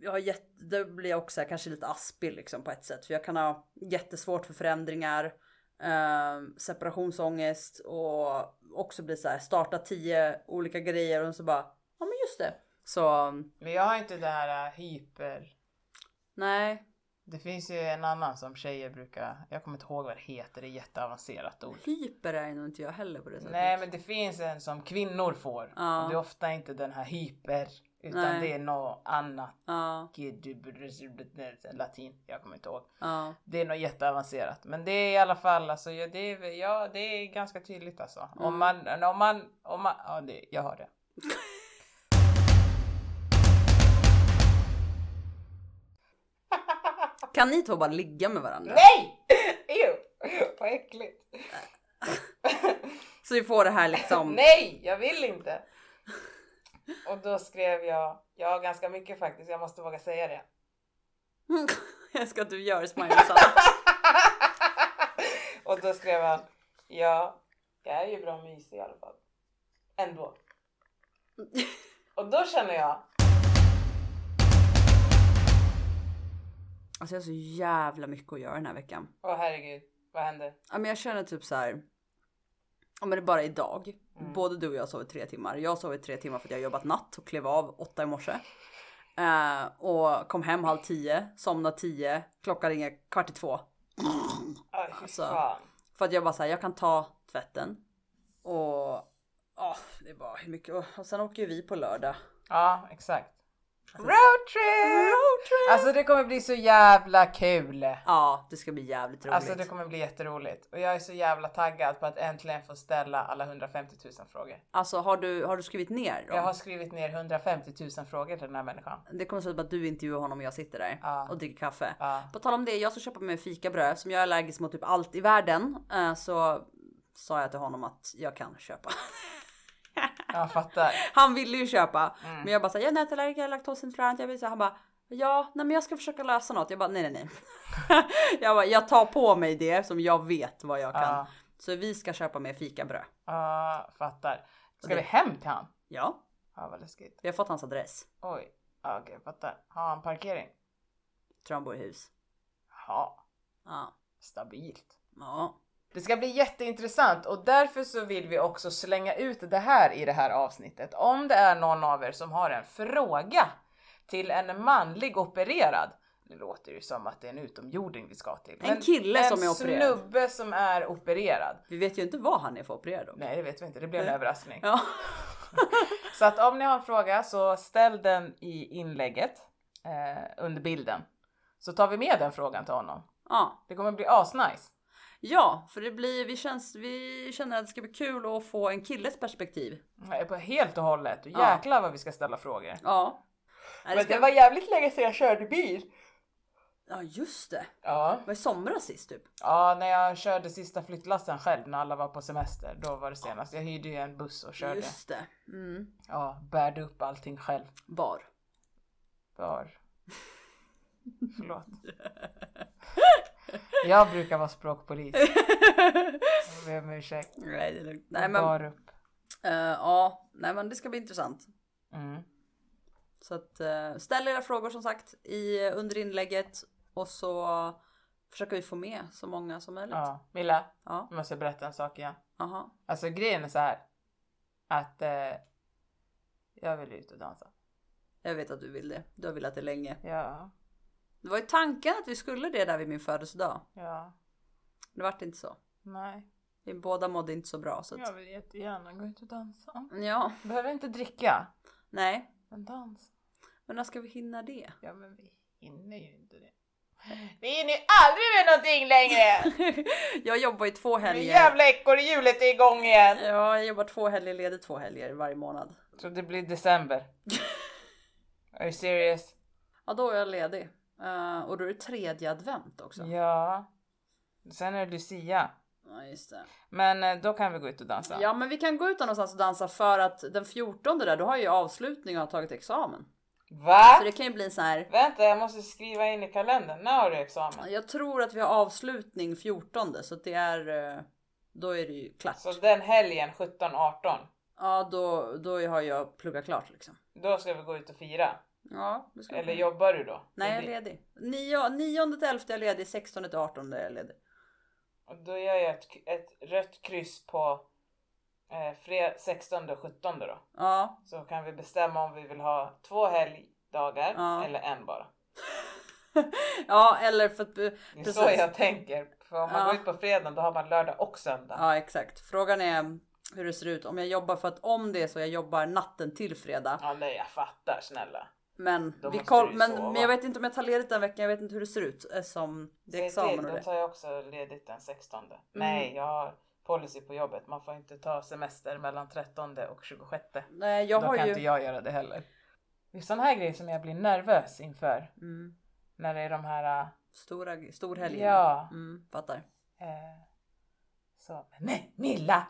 [SPEAKER 1] jag har jätte, det blir jag också så här, kanske lite aspig liksom på ett sätt. För jag kan ha jättesvårt för förändringar, eh, separationsångest och också bli så här, starta tio olika grejer och så bara, ja men just det. Så
[SPEAKER 2] Men jag har inte det här äh, hyper...
[SPEAKER 1] nej,
[SPEAKER 2] Det finns ju en annan som tjejer brukar... Jag kommer inte ihåg vad det heter. Det är ett jätteavancerat ord.
[SPEAKER 1] hyper är nog inte jag heller på det sättet.
[SPEAKER 2] Nej men det finns en som kvinnor får.
[SPEAKER 1] Ja.
[SPEAKER 2] Och det är ofta inte den här hyper. Utan
[SPEAKER 1] Nej.
[SPEAKER 2] det är något annat.
[SPEAKER 1] Ja,
[SPEAKER 2] Latin. Jag kommer inte ihåg.
[SPEAKER 1] ja.
[SPEAKER 2] Det är nog jätteavancerat. Men det är i alla fall alltså, ja, det, är, ja, det är ganska tydligt alltså. Om man, om man, om man, ja det, jag har det.
[SPEAKER 1] Kan ni två bara ligga med varandra?
[SPEAKER 2] Nej! Ew! Vad äckligt.
[SPEAKER 1] Så vi får det här liksom.
[SPEAKER 2] Nej, jag vill inte. Och då skrev jag, jag har ganska mycket faktiskt, jag måste våga säga det.
[SPEAKER 1] jag ska att du gör smiley
[SPEAKER 2] Och då skrev han, ja, jag är ju bra mysig i alla fall. Ändå. Och då känner jag,
[SPEAKER 1] Alltså jag har så jävla mycket att göra den här veckan.
[SPEAKER 2] åh herregud, vad händer?
[SPEAKER 1] Ja, men jag känner typ så här. Om det är bara idag.
[SPEAKER 2] Mm.
[SPEAKER 1] Både du och jag sov i tre timmar. Jag sov i tre timmar för att jag jobbat natt och klev av åtta i morse. Eh, och kom hem halv tio, somnade tio, klockan ringer kvart i två.
[SPEAKER 2] Aj, fy
[SPEAKER 1] Alltså.
[SPEAKER 2] fan.
[SPEAKER 1] För att jag bara såhär, jag kan ta tvätten. Och ja, det var hur mycket. och- Och sen åker ju vi på lördag.
[SPEAKER 2] Ja, exakt. Roadtrip! Alltså det kommer bli så jävla kul.
[SPEAKER 1] Ja, det ska bli jävligt roligt.
[SPEAKER 2] Alltså det kommer bli jätteroligt. Och jag är så jävla taggad på att äntligen få ställa alla 150 000 frågor.
[SPEAKER 1] Alltså har du, har du skrivit ner dem?
[SPEAKER 2] Jag har skrivit ner 150 000 frågor till den här människan.
[SPEAKER 1] Det kommer se ut som att du intervjuar honom och jag sitter där
[SPEAKER 2] Ja.
[SPEAKER 1] och dricker kaffe.
[SPEAKER 2] Ja.
[SPEAKER 1] På tal om det, jag ska köpa mig fikabröd som jag är allergisk mot typ allt i världen. eh, Så sa jag till honom att jag kan köpa.
[SPEAKER 2] Jag fattar.
[SPEAKER 1] Han ville ju köpa,
[SPEAKER 2] Mm.
[SPEAKER 1] men jag bara sa jag är nätallergiker, jag är laktosintolerant. Jag vill säga, han bara ja, nej, men jag ska försöka lösa något. Jag bara nej, nej, nej. jag bara jag tar på mig det som jag vet vad jag kan.
[SPEAKER 2] Ja.
[SPEAKER 1] Så vi ska köpa mer fikabröd.
[SPEAKER 2] Ja, fattar. Ska
[SPEAKER 1] det-
[SPEAKER 2] vi hem till han?
[SPEAKER 1] Ja,
[SPEAKER 2] Ja, vad läskigt.
[SPEAKER 1] vi har fått hans adress.
[SPEAKER 2] Oj. Ja, okej, fattar. Har han parkering?
[SPEAKER 1] Tror han bor i hus.
[SPEAKER 2] Ja,
[SPEAKER 1] Ja,
[SPEAKER 2] stabilt.
[SPEAKER 1] ja,
[SPEAKER 2] Det ska bli jätteintressant och därför så vill vi också slänga ut det här i det här avsnittet. Om det är någon av er som har en fråga till en manlig opererad, Nu låter det ju som att det är en utomjording vi ska till.
[SPEAKER 1] En kille som är
[SPEAKER 2] En
[SPEAKER 1] opererad.
[SPEAKER 2] snubbe som är opererad.
[SPEAKER 1] Vi vet ju inte vad han är för opererad om.
[SPEAKER 2] Nej det vet vi inte, det blir en överraskning.
[SPEAKER 1] Ja.
[SPEAKER 2] Så att om ni har en fråga så ställ den i inlägget eh, under bilden. Så tar vi med den frågan till honom.
[SPEAKER 1] ja.
[SPEAKER 2] Det kommer bli asnice.
[SPEAKER 1] Ja, för det blir, vi, känns, vi känner att det ska bli kul att få en killes perspektiv.
[SPEAKER 2] Nej, på- Helt och hållet. Och
[SPEAKER 1] Ja.
[SPEAKER 2] jäklar vad vi ska ställa frågor.
[SPEAKER 1] Ja. Nej, det ska...
[SPEAKER 2] var jävligt länge sedan jag körde bil.
[SPEAKER 1] Ja just det.
[SPEAKER 2] Ja.
[SPEAKER 1] Det var i somras sist typ.
[SPEAKER 2] ja, när jag körde sista flyttlassen själv när alla var på semester. Då var det senast. Jag hyrde ju en buss och körde.
[SPEAKER 1] Just det. Mm.
[SPEAKER 2] Ja, bärde upp allting själv.
[SPEAKER 1] Bar.
[SPEAKER 2] Var. Förlåt. Jag brukar vara språkpolis. Jag ber om ursäkt.
[SPEAKER 1] Nej det är lugnt. Nej
[SPEAKER 2] Nej,
[SPEAKER 1] men,
[SPEAKER 2] Bar upp.
[SPEAKER 1] eh, ja. Nej men det ska bli intressant.
[SPEAKER 2] Mm.
[SPEAKER 1] Så att eh, ställ era frågor som sagt i, under inlägget och så försöker vi få med så många som möjligt.
[SPEAKER 2] Ja. Milla,
[SPEAKER 1] Ja.
[SPEAKER 2] jag måste berätta en sak igen.
[SPEAKER 1] Aha.
[SPEAKER 2] Alltså grejen är så här. Att eh, jag vill ut och dansa.
[SPEAKER 1] Jag vet att du vill det. Du har velat det länge.
[SPEAKER 2] Ja,
[SPEAKER 1] Det var ju tanken att vi skulle det där vid min födelsedag.
[SPEAKER 2] ja,
[SPEAKER 1] Det vart inte så.
[SPEAKER 2] nej.
[SPEAKER 1] Vi båda mådde inte så bra så att...
[SPEAKER 2] Jag vill jättegärna gå ut och dansa.
[SPEAKER 1] Ja,
[SPEAKER 2] Behöver inte dricka.
[SPEAKER 1] nej.
[SPEAKER 2] Men dans.
[SPEAKER 1] Men när ska vi hinna det?
[SPEAKER 2] Ja men vi hinner ju inte det. Vi hinner ju aldrig med någonting längre!
[SPEAKER 1] jag jobbar ju två
[SPEAKER 2] Det
[SPEAKER 1] helger.
[SPEAKER 2] jävla ekorrhjulet är igång igen!
[SPEAKER 1] Ja, jag jobbar två helger, leder två helger varje månad.
[SPEAKER 2] Så det blir december. Are you serious?
[SPEAKER 1] Ja, då är jag ledig. Eh, och då är det tredje advent också. Ja,
[SPEAKER 2] Ja. Sen är det Lucia.
[SPEAKER 1] just det.
[SPEAKER 2] Men eh, då kan vi gå ut och dansa.
[SPEAKER 1] Ja, men vi kan gå ut någonstans och dansa för att den 14 där, då har jag ju avslutning och har tagit examen. Så
[SPEAKER 2] Va?
[SPEAKER 1] Alltså, det kan ju bli så här.
[SPEAKER 2] Vänta jag måste skriva in i kalendern. När har du examen?
[SPEAKER 1] Jag tror att vi har avslutning 14 så att det är. eh, Då är det ju klart.
[SPEAKER 2] Så den helgen 17-18.
[SPEAKER 1] Ja, då, då har jag pluggat klart liksom.
[SPEAKER 2] Då ska vi gå ut och fira.
[SPEAKER 1] Ja, det ska vi
[SPEAKER 2] Eller
[SPEAKER 1] kunna.
[SPEAKER 2] jobbar du då?
[SPEAKER 1] Nej, jag är
[SPEAKER 2] Det-
[SPEAKER 1] ledig. 9, 9 till 11 är jag ledig, 16 till 18 är jag ledig.
[SPEAKER 2] Och då gör jag ett, ett rött kryss på eh, fred, 16 och 17 då.
[SPEAKER 1] Ja,
[SPEAKER 2] Så kan vi bestämma om vi vill ha två helgdagar
[SPEAKER 1] Ja.
[SPEAKER 2] eller en bara.
[SPEAKER 1] ja eller för att...
[SPEAKER 2] Det är
[SPEAKER 1] Precis.
[SPEAKER 2] så jag tänker. För om man
[SPEAKER 1] Ja.
[SPEAKER 2] går ut på fredag då har man lördag och söndag.
[SPEAKER 1] Ja, exakt. Frågan är hur det ser ut om jag jobbar för att om det är så jag jobbar natten till fredag.
[SPEAKER 2] Ja nej jag fattar snälla.
[SPEAKER 1] Men,
[SPEAKER 2] Då
[SPEAKER 1] vi
[SPEAKER 2] måste du
[SPEAKER 1] koll,
[SPEAKER 2] ju
[SPEAKER 1] men,
[SPEAKER 2] sova.
[SPEAKER 1] men jag vet inte om jag tar ledigt den veckan. Jag vet inte hur det ser ut eh, som det är
[SPEAKER 2] Säg till,
[SPEAKER 1] examen och
[SPEAKER 2] då
[SPEAKER 1] det. Mm.
[SPEAKER 2] tar jag också ledigt den 16. Nej jag har policy på jobbet. Man får inte ta semester mellan 13 och 26.
[SPEAKER 1] Nej, jag
[SPEAKER 2] då
[SPEAKER 1] har
[SPEAKER 2] kan
[SPEAKER 1] ju...
[SPEAKER 2] inte jag göra det heller. Det är sådana här grejer som jag blir nervös inför.
[SPEAKER 1] Mm,
[SPEAKER 2] När det är de här äh,
[SPEAKER 1] stora, stor helg.
[SPEAKER 2] Ja.
[SPEAKER 1] Mm, fattar.
[SPEAKER 2] Eh, så, men nej, Milla!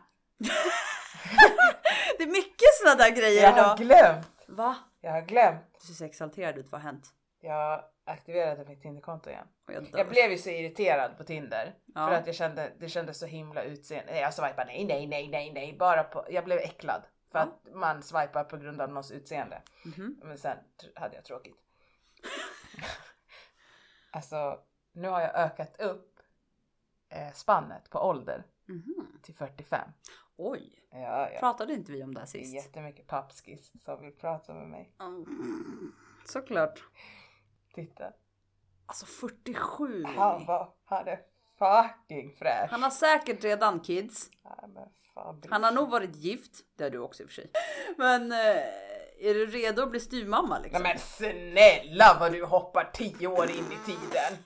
[SPEAKER 1] Det är mycket såna där grejer
[SPEAKER 2] Jag har
[SPEAKER 1] idag.
[SPEAKER 2] glömt!
[SPEAKER 1] Va?
[SPEAKER 2] Jag har glömt.
[SPEAKER 1] Du ser så exalterad ut. Vad har hänt?
[SPEAKER 2] Jag aktiverade mitt Tinderkonto igen.
[SPEAKER 1] Och jag dör.
[SPEAKER 2] Jag blev ju så irriterad på Tinder.
[SPEAKER 1] Ja.
[SPEAKER 2] För att jag kände, det kändes så himla utseende. Nej, Jag swipade nej, nej, nej, nej, nej. Bara på, jag blev äcklad. För
[SPEAKER 1] Ja.
[SPEAKER 2] att man swipar på grund av någons utseende.
[SPEAKER 1] Mhm.
[SPEAKER 2] Men sen tr- hade jag tråkigt. alltså, nu har jag ökat upp eh, spannet på ålder
[SPEAKER 1] Mhm.
[SPEAKER 2] till 45.
[SPEAKER 1] Oj,
[SPEAKER 2] Ja, ja.
[SPEAKER 1] pratade inte vi om det här
[SPEAKER 2] Det är
[SPEAKER 1] sist?
[SPEAKER 2] jättemycket pappskis som vill prata med mig.
[SPEAKER 1] Mm, såklart.
[SPEAKER 2] Titta.
[SPEAKER 1] Alltså 47
[SPEAKER 2] Han
[SPEAKER 1] Mimmi.
[SPEAKER 2] var, han är fucking fräsch.
[SPEAKER 1] Han har säkert redan kids.
[SPEAKER 2] Ja, men fan,
[SPEAKER 1] Han har nog varit gift. Det har du också i och för sig. Men eh, är du redo att bli styvmamma
[SPEAKER 2] Nej
[SPEAKER 1] liksom?
[SPEAKER 2] men snälla vad du hoppar tio år in i tiden.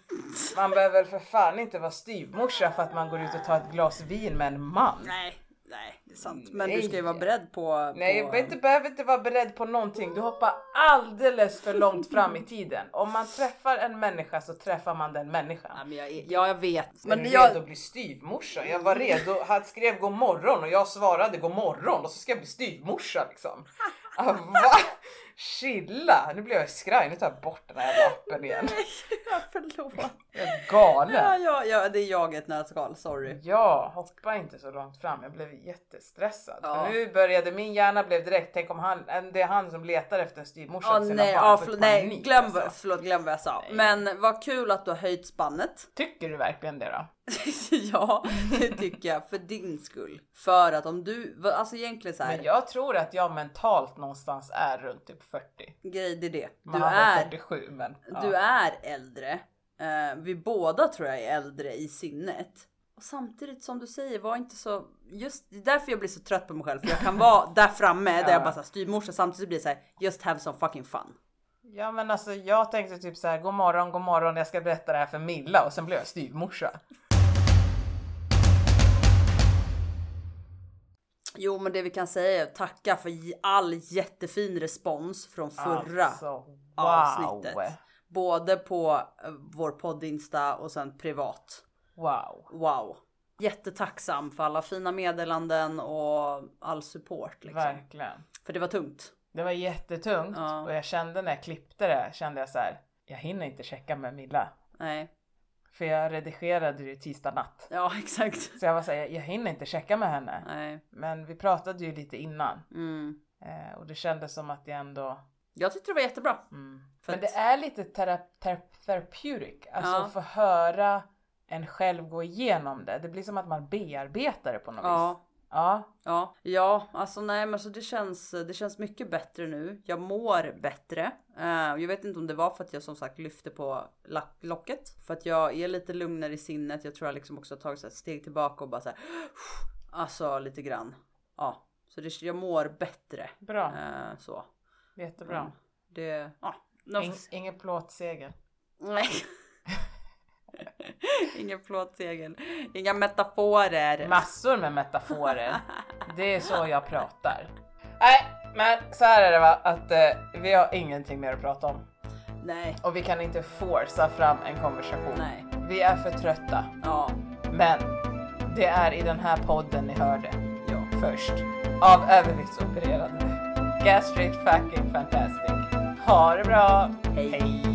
[SPEAKER 2] Man behöver väl för fan inte vara styvmorsa för att man går ut och tar ett glas vin med en man.
[SPEAKER 1] Nej, nej, det är sant. Men du
[SPEAKER 2] Nej.
[SPEAKER 1] ska ju vara beredd på...
[SPEAKER 2] Nej,
[SPEAKER 1] på...
[SPEAKER 2] jag behöver inte, behöver inte vara beredd på någonting. Du hoppar alldeles för långt fram i tiden. Om man träffar en människa så träffar man den människan.
[SPEAKER 1] Ja, men jag, är- ja, jag vet.
[SPEAKER 2] Men är
[SPEAKER 1] Men
[SPEAKER 2] du redo
[SPEAKER 1] jag...
[SPEAKER 2] att bli styvmorsa? Jag var redo, han skrev god morgon och jag svarade god morgon och så ska jag bli styvmorsa liksom. Ah, va? Chilla! Nu blev jag skraj, nu tar jag bort den här jävla appen igen.
[SPEAKER 1] Ja, Förlåt.
[SPEAKER 2] Jag är
[SPEAKER 1] Ja,
[SPEAKER 2] galen.
[SPEAKER 1] ja, ja, det är jag i ett nötskal. Sorry.
[SPEAKER 2] Ja, hoppa inte så långt fram. Jag blev jättestressad.
[SPEAKER 1] Ja.
[SPEAKER 2] För nu började min hjärna blev direkt, tänk om han, det är han som letar efter en styvmorsa
[SPEAKER 1] Ja,
[SPEAKER 2] till sina
[SPEAKER 1] nej,
[SPEAKER 2] barn.
[SPEAKER 1] ja,
[SPEAKER 2] Jag får
[SPEAKER 1] förlåt, nej,
[SPEAKER 2] panik,
[SPEAKER 1] glöm,
[SPEAKER 2] alltså.
[SPEAKER 1] förlåt, glöm vad jag sa.
[SPEAKER 2] Nej.
[SPEAKER 1] Men vad kul att du har höjt spannet.
[SPEAKER 2] Tycker du verkligen det då?
[SPEAKER 1] ja, det tycker jag. För din skull. För att om du, alltså egentligen så här.
[SPEAKER 2] Men jag tror att jag mentalt någonstans är runt typ typ 40.
[SPEAKER 1] Grej det är det. Du
[SPEAKER 2] Man han var
[SPEAKER 1] är,
[SPEAKER 2] 47 men. Ja.
[SPEAKER 1] du är äldre. Eh, vi båda tror jag är äldre i sinnet. Och samtidigt som du säger, var inte så... Just det är därför jag blir så trött på mig själv. För jag kan vara där framme där
[SPEAKER 2] Ja.
[SPEAKER 1] jag bara så här, styvmorsa samtidigt blir det så här, just have some fucking fun.
[SPEAKER 2] Ja men alltså jag tänkte typ så här, god morgon, god morgon, jag ska berätta det här för Milla och sen blev jag styvmorsa.
[SPEAKER 1] Jo men det vi kan säga är att tacka för j- all jättefin respons från förra
[SPEAKER 2] Alltså, wow.
[SPEAKER 1] avsnittet. Både på eh, vår podd Insta och sen privat.
[SPEAKER 2] Wow.
[SPEAKER 1] Wow. Jättetacksam för alla fina meddelanden och all support. Liksom.
[SPEAKER 2] Verkligen.
[SPEAKER 1] För det var tungt.
[SPEAKER 2] Det var jättetungt
[SPEAKER 1] Ja.
[SPEAKER 2] och jag kände när jag klippte det kände jag så här. Jag hinner inte checka med Milla.
[SPEAKER 1] Nej,
[SPEAKER 2] För jag redigerade ju tisdag natt.
[SPEAKER 1] ja exakt.
[SPEAKER 2] Så jag var såhär, jag hinner inte checka med henne.
[SPEAKER 1] Nej.
[SPEAKER 2] Men vi pratade ju lite innan.
[SPEAKER 1] Mm.
[SPEAKER 2] Eh, och det kändes som att jag ändå...
[SPEAKER 1] Jag tyckte det var jättebra.
[SPEAKER 2] Mm.
[SPEAKER 1] För
[SPEAKER 2] Men
[SPEAKER 1] att-
[SPEAKER 2] det är lite tera- ter- therapeutic. Alltså
[SPEAKER 1] Ja.
[SPEAKER 2] att få höra en själv gå igenom det. Det blir som att man bearbetar det på något vis.
[SPEAKER 1] Ja,
[SPEAKER 2] Ja.
[SPEAKER 1] ja, ja, alltså nej, men så det känns. Det känns mycket bättre nu. Jag mår bättre. Eh, och jag vet inte om det var för att jag som sagt lyfte på lack- locket för att jag är lite lugnare i sinnet. Jag tror jag liksom också har tagit så här ett steg tillbaka och bara så här. Alltså lite grann. Ja, så det, jag mår bättre.
[SPEAKER 2] Bra.
[SPEAKER 1] Eh, så. Mm.
[SPEAKER 2] Jättebra.
[SPEAKER 1] Det... Ja.
[SPEAKER 2] In, ingen plåtseger.
[SPEAKER 1] Nej. Ingen plåtsegel. Inga metaforer.
[SPEAKER 2] Massor med metaforer. Det är så jag pratar. Nej, men så här är det va. Att eh, vi har ingenting mer att prata om.
[SPEAKER 1] Nej.
[SPEAKER 2] Och vi kan inte forsa fram en konversation.
[SPEAKER 1] Nej.
[SPEAKER 2] Vi är för trötta.
[SPEAKER 1] Ja.
[SPEAKER 2] Men det är i den här podden ni hör det.
[SPEAKER 1] Ja.
[SPEAKER 2] Först. Av överviktsopererade. Gastric fucking fantastic. Ha det bra.
[SPEAKER 1] Hej.
[SPEAKER 2] Hej.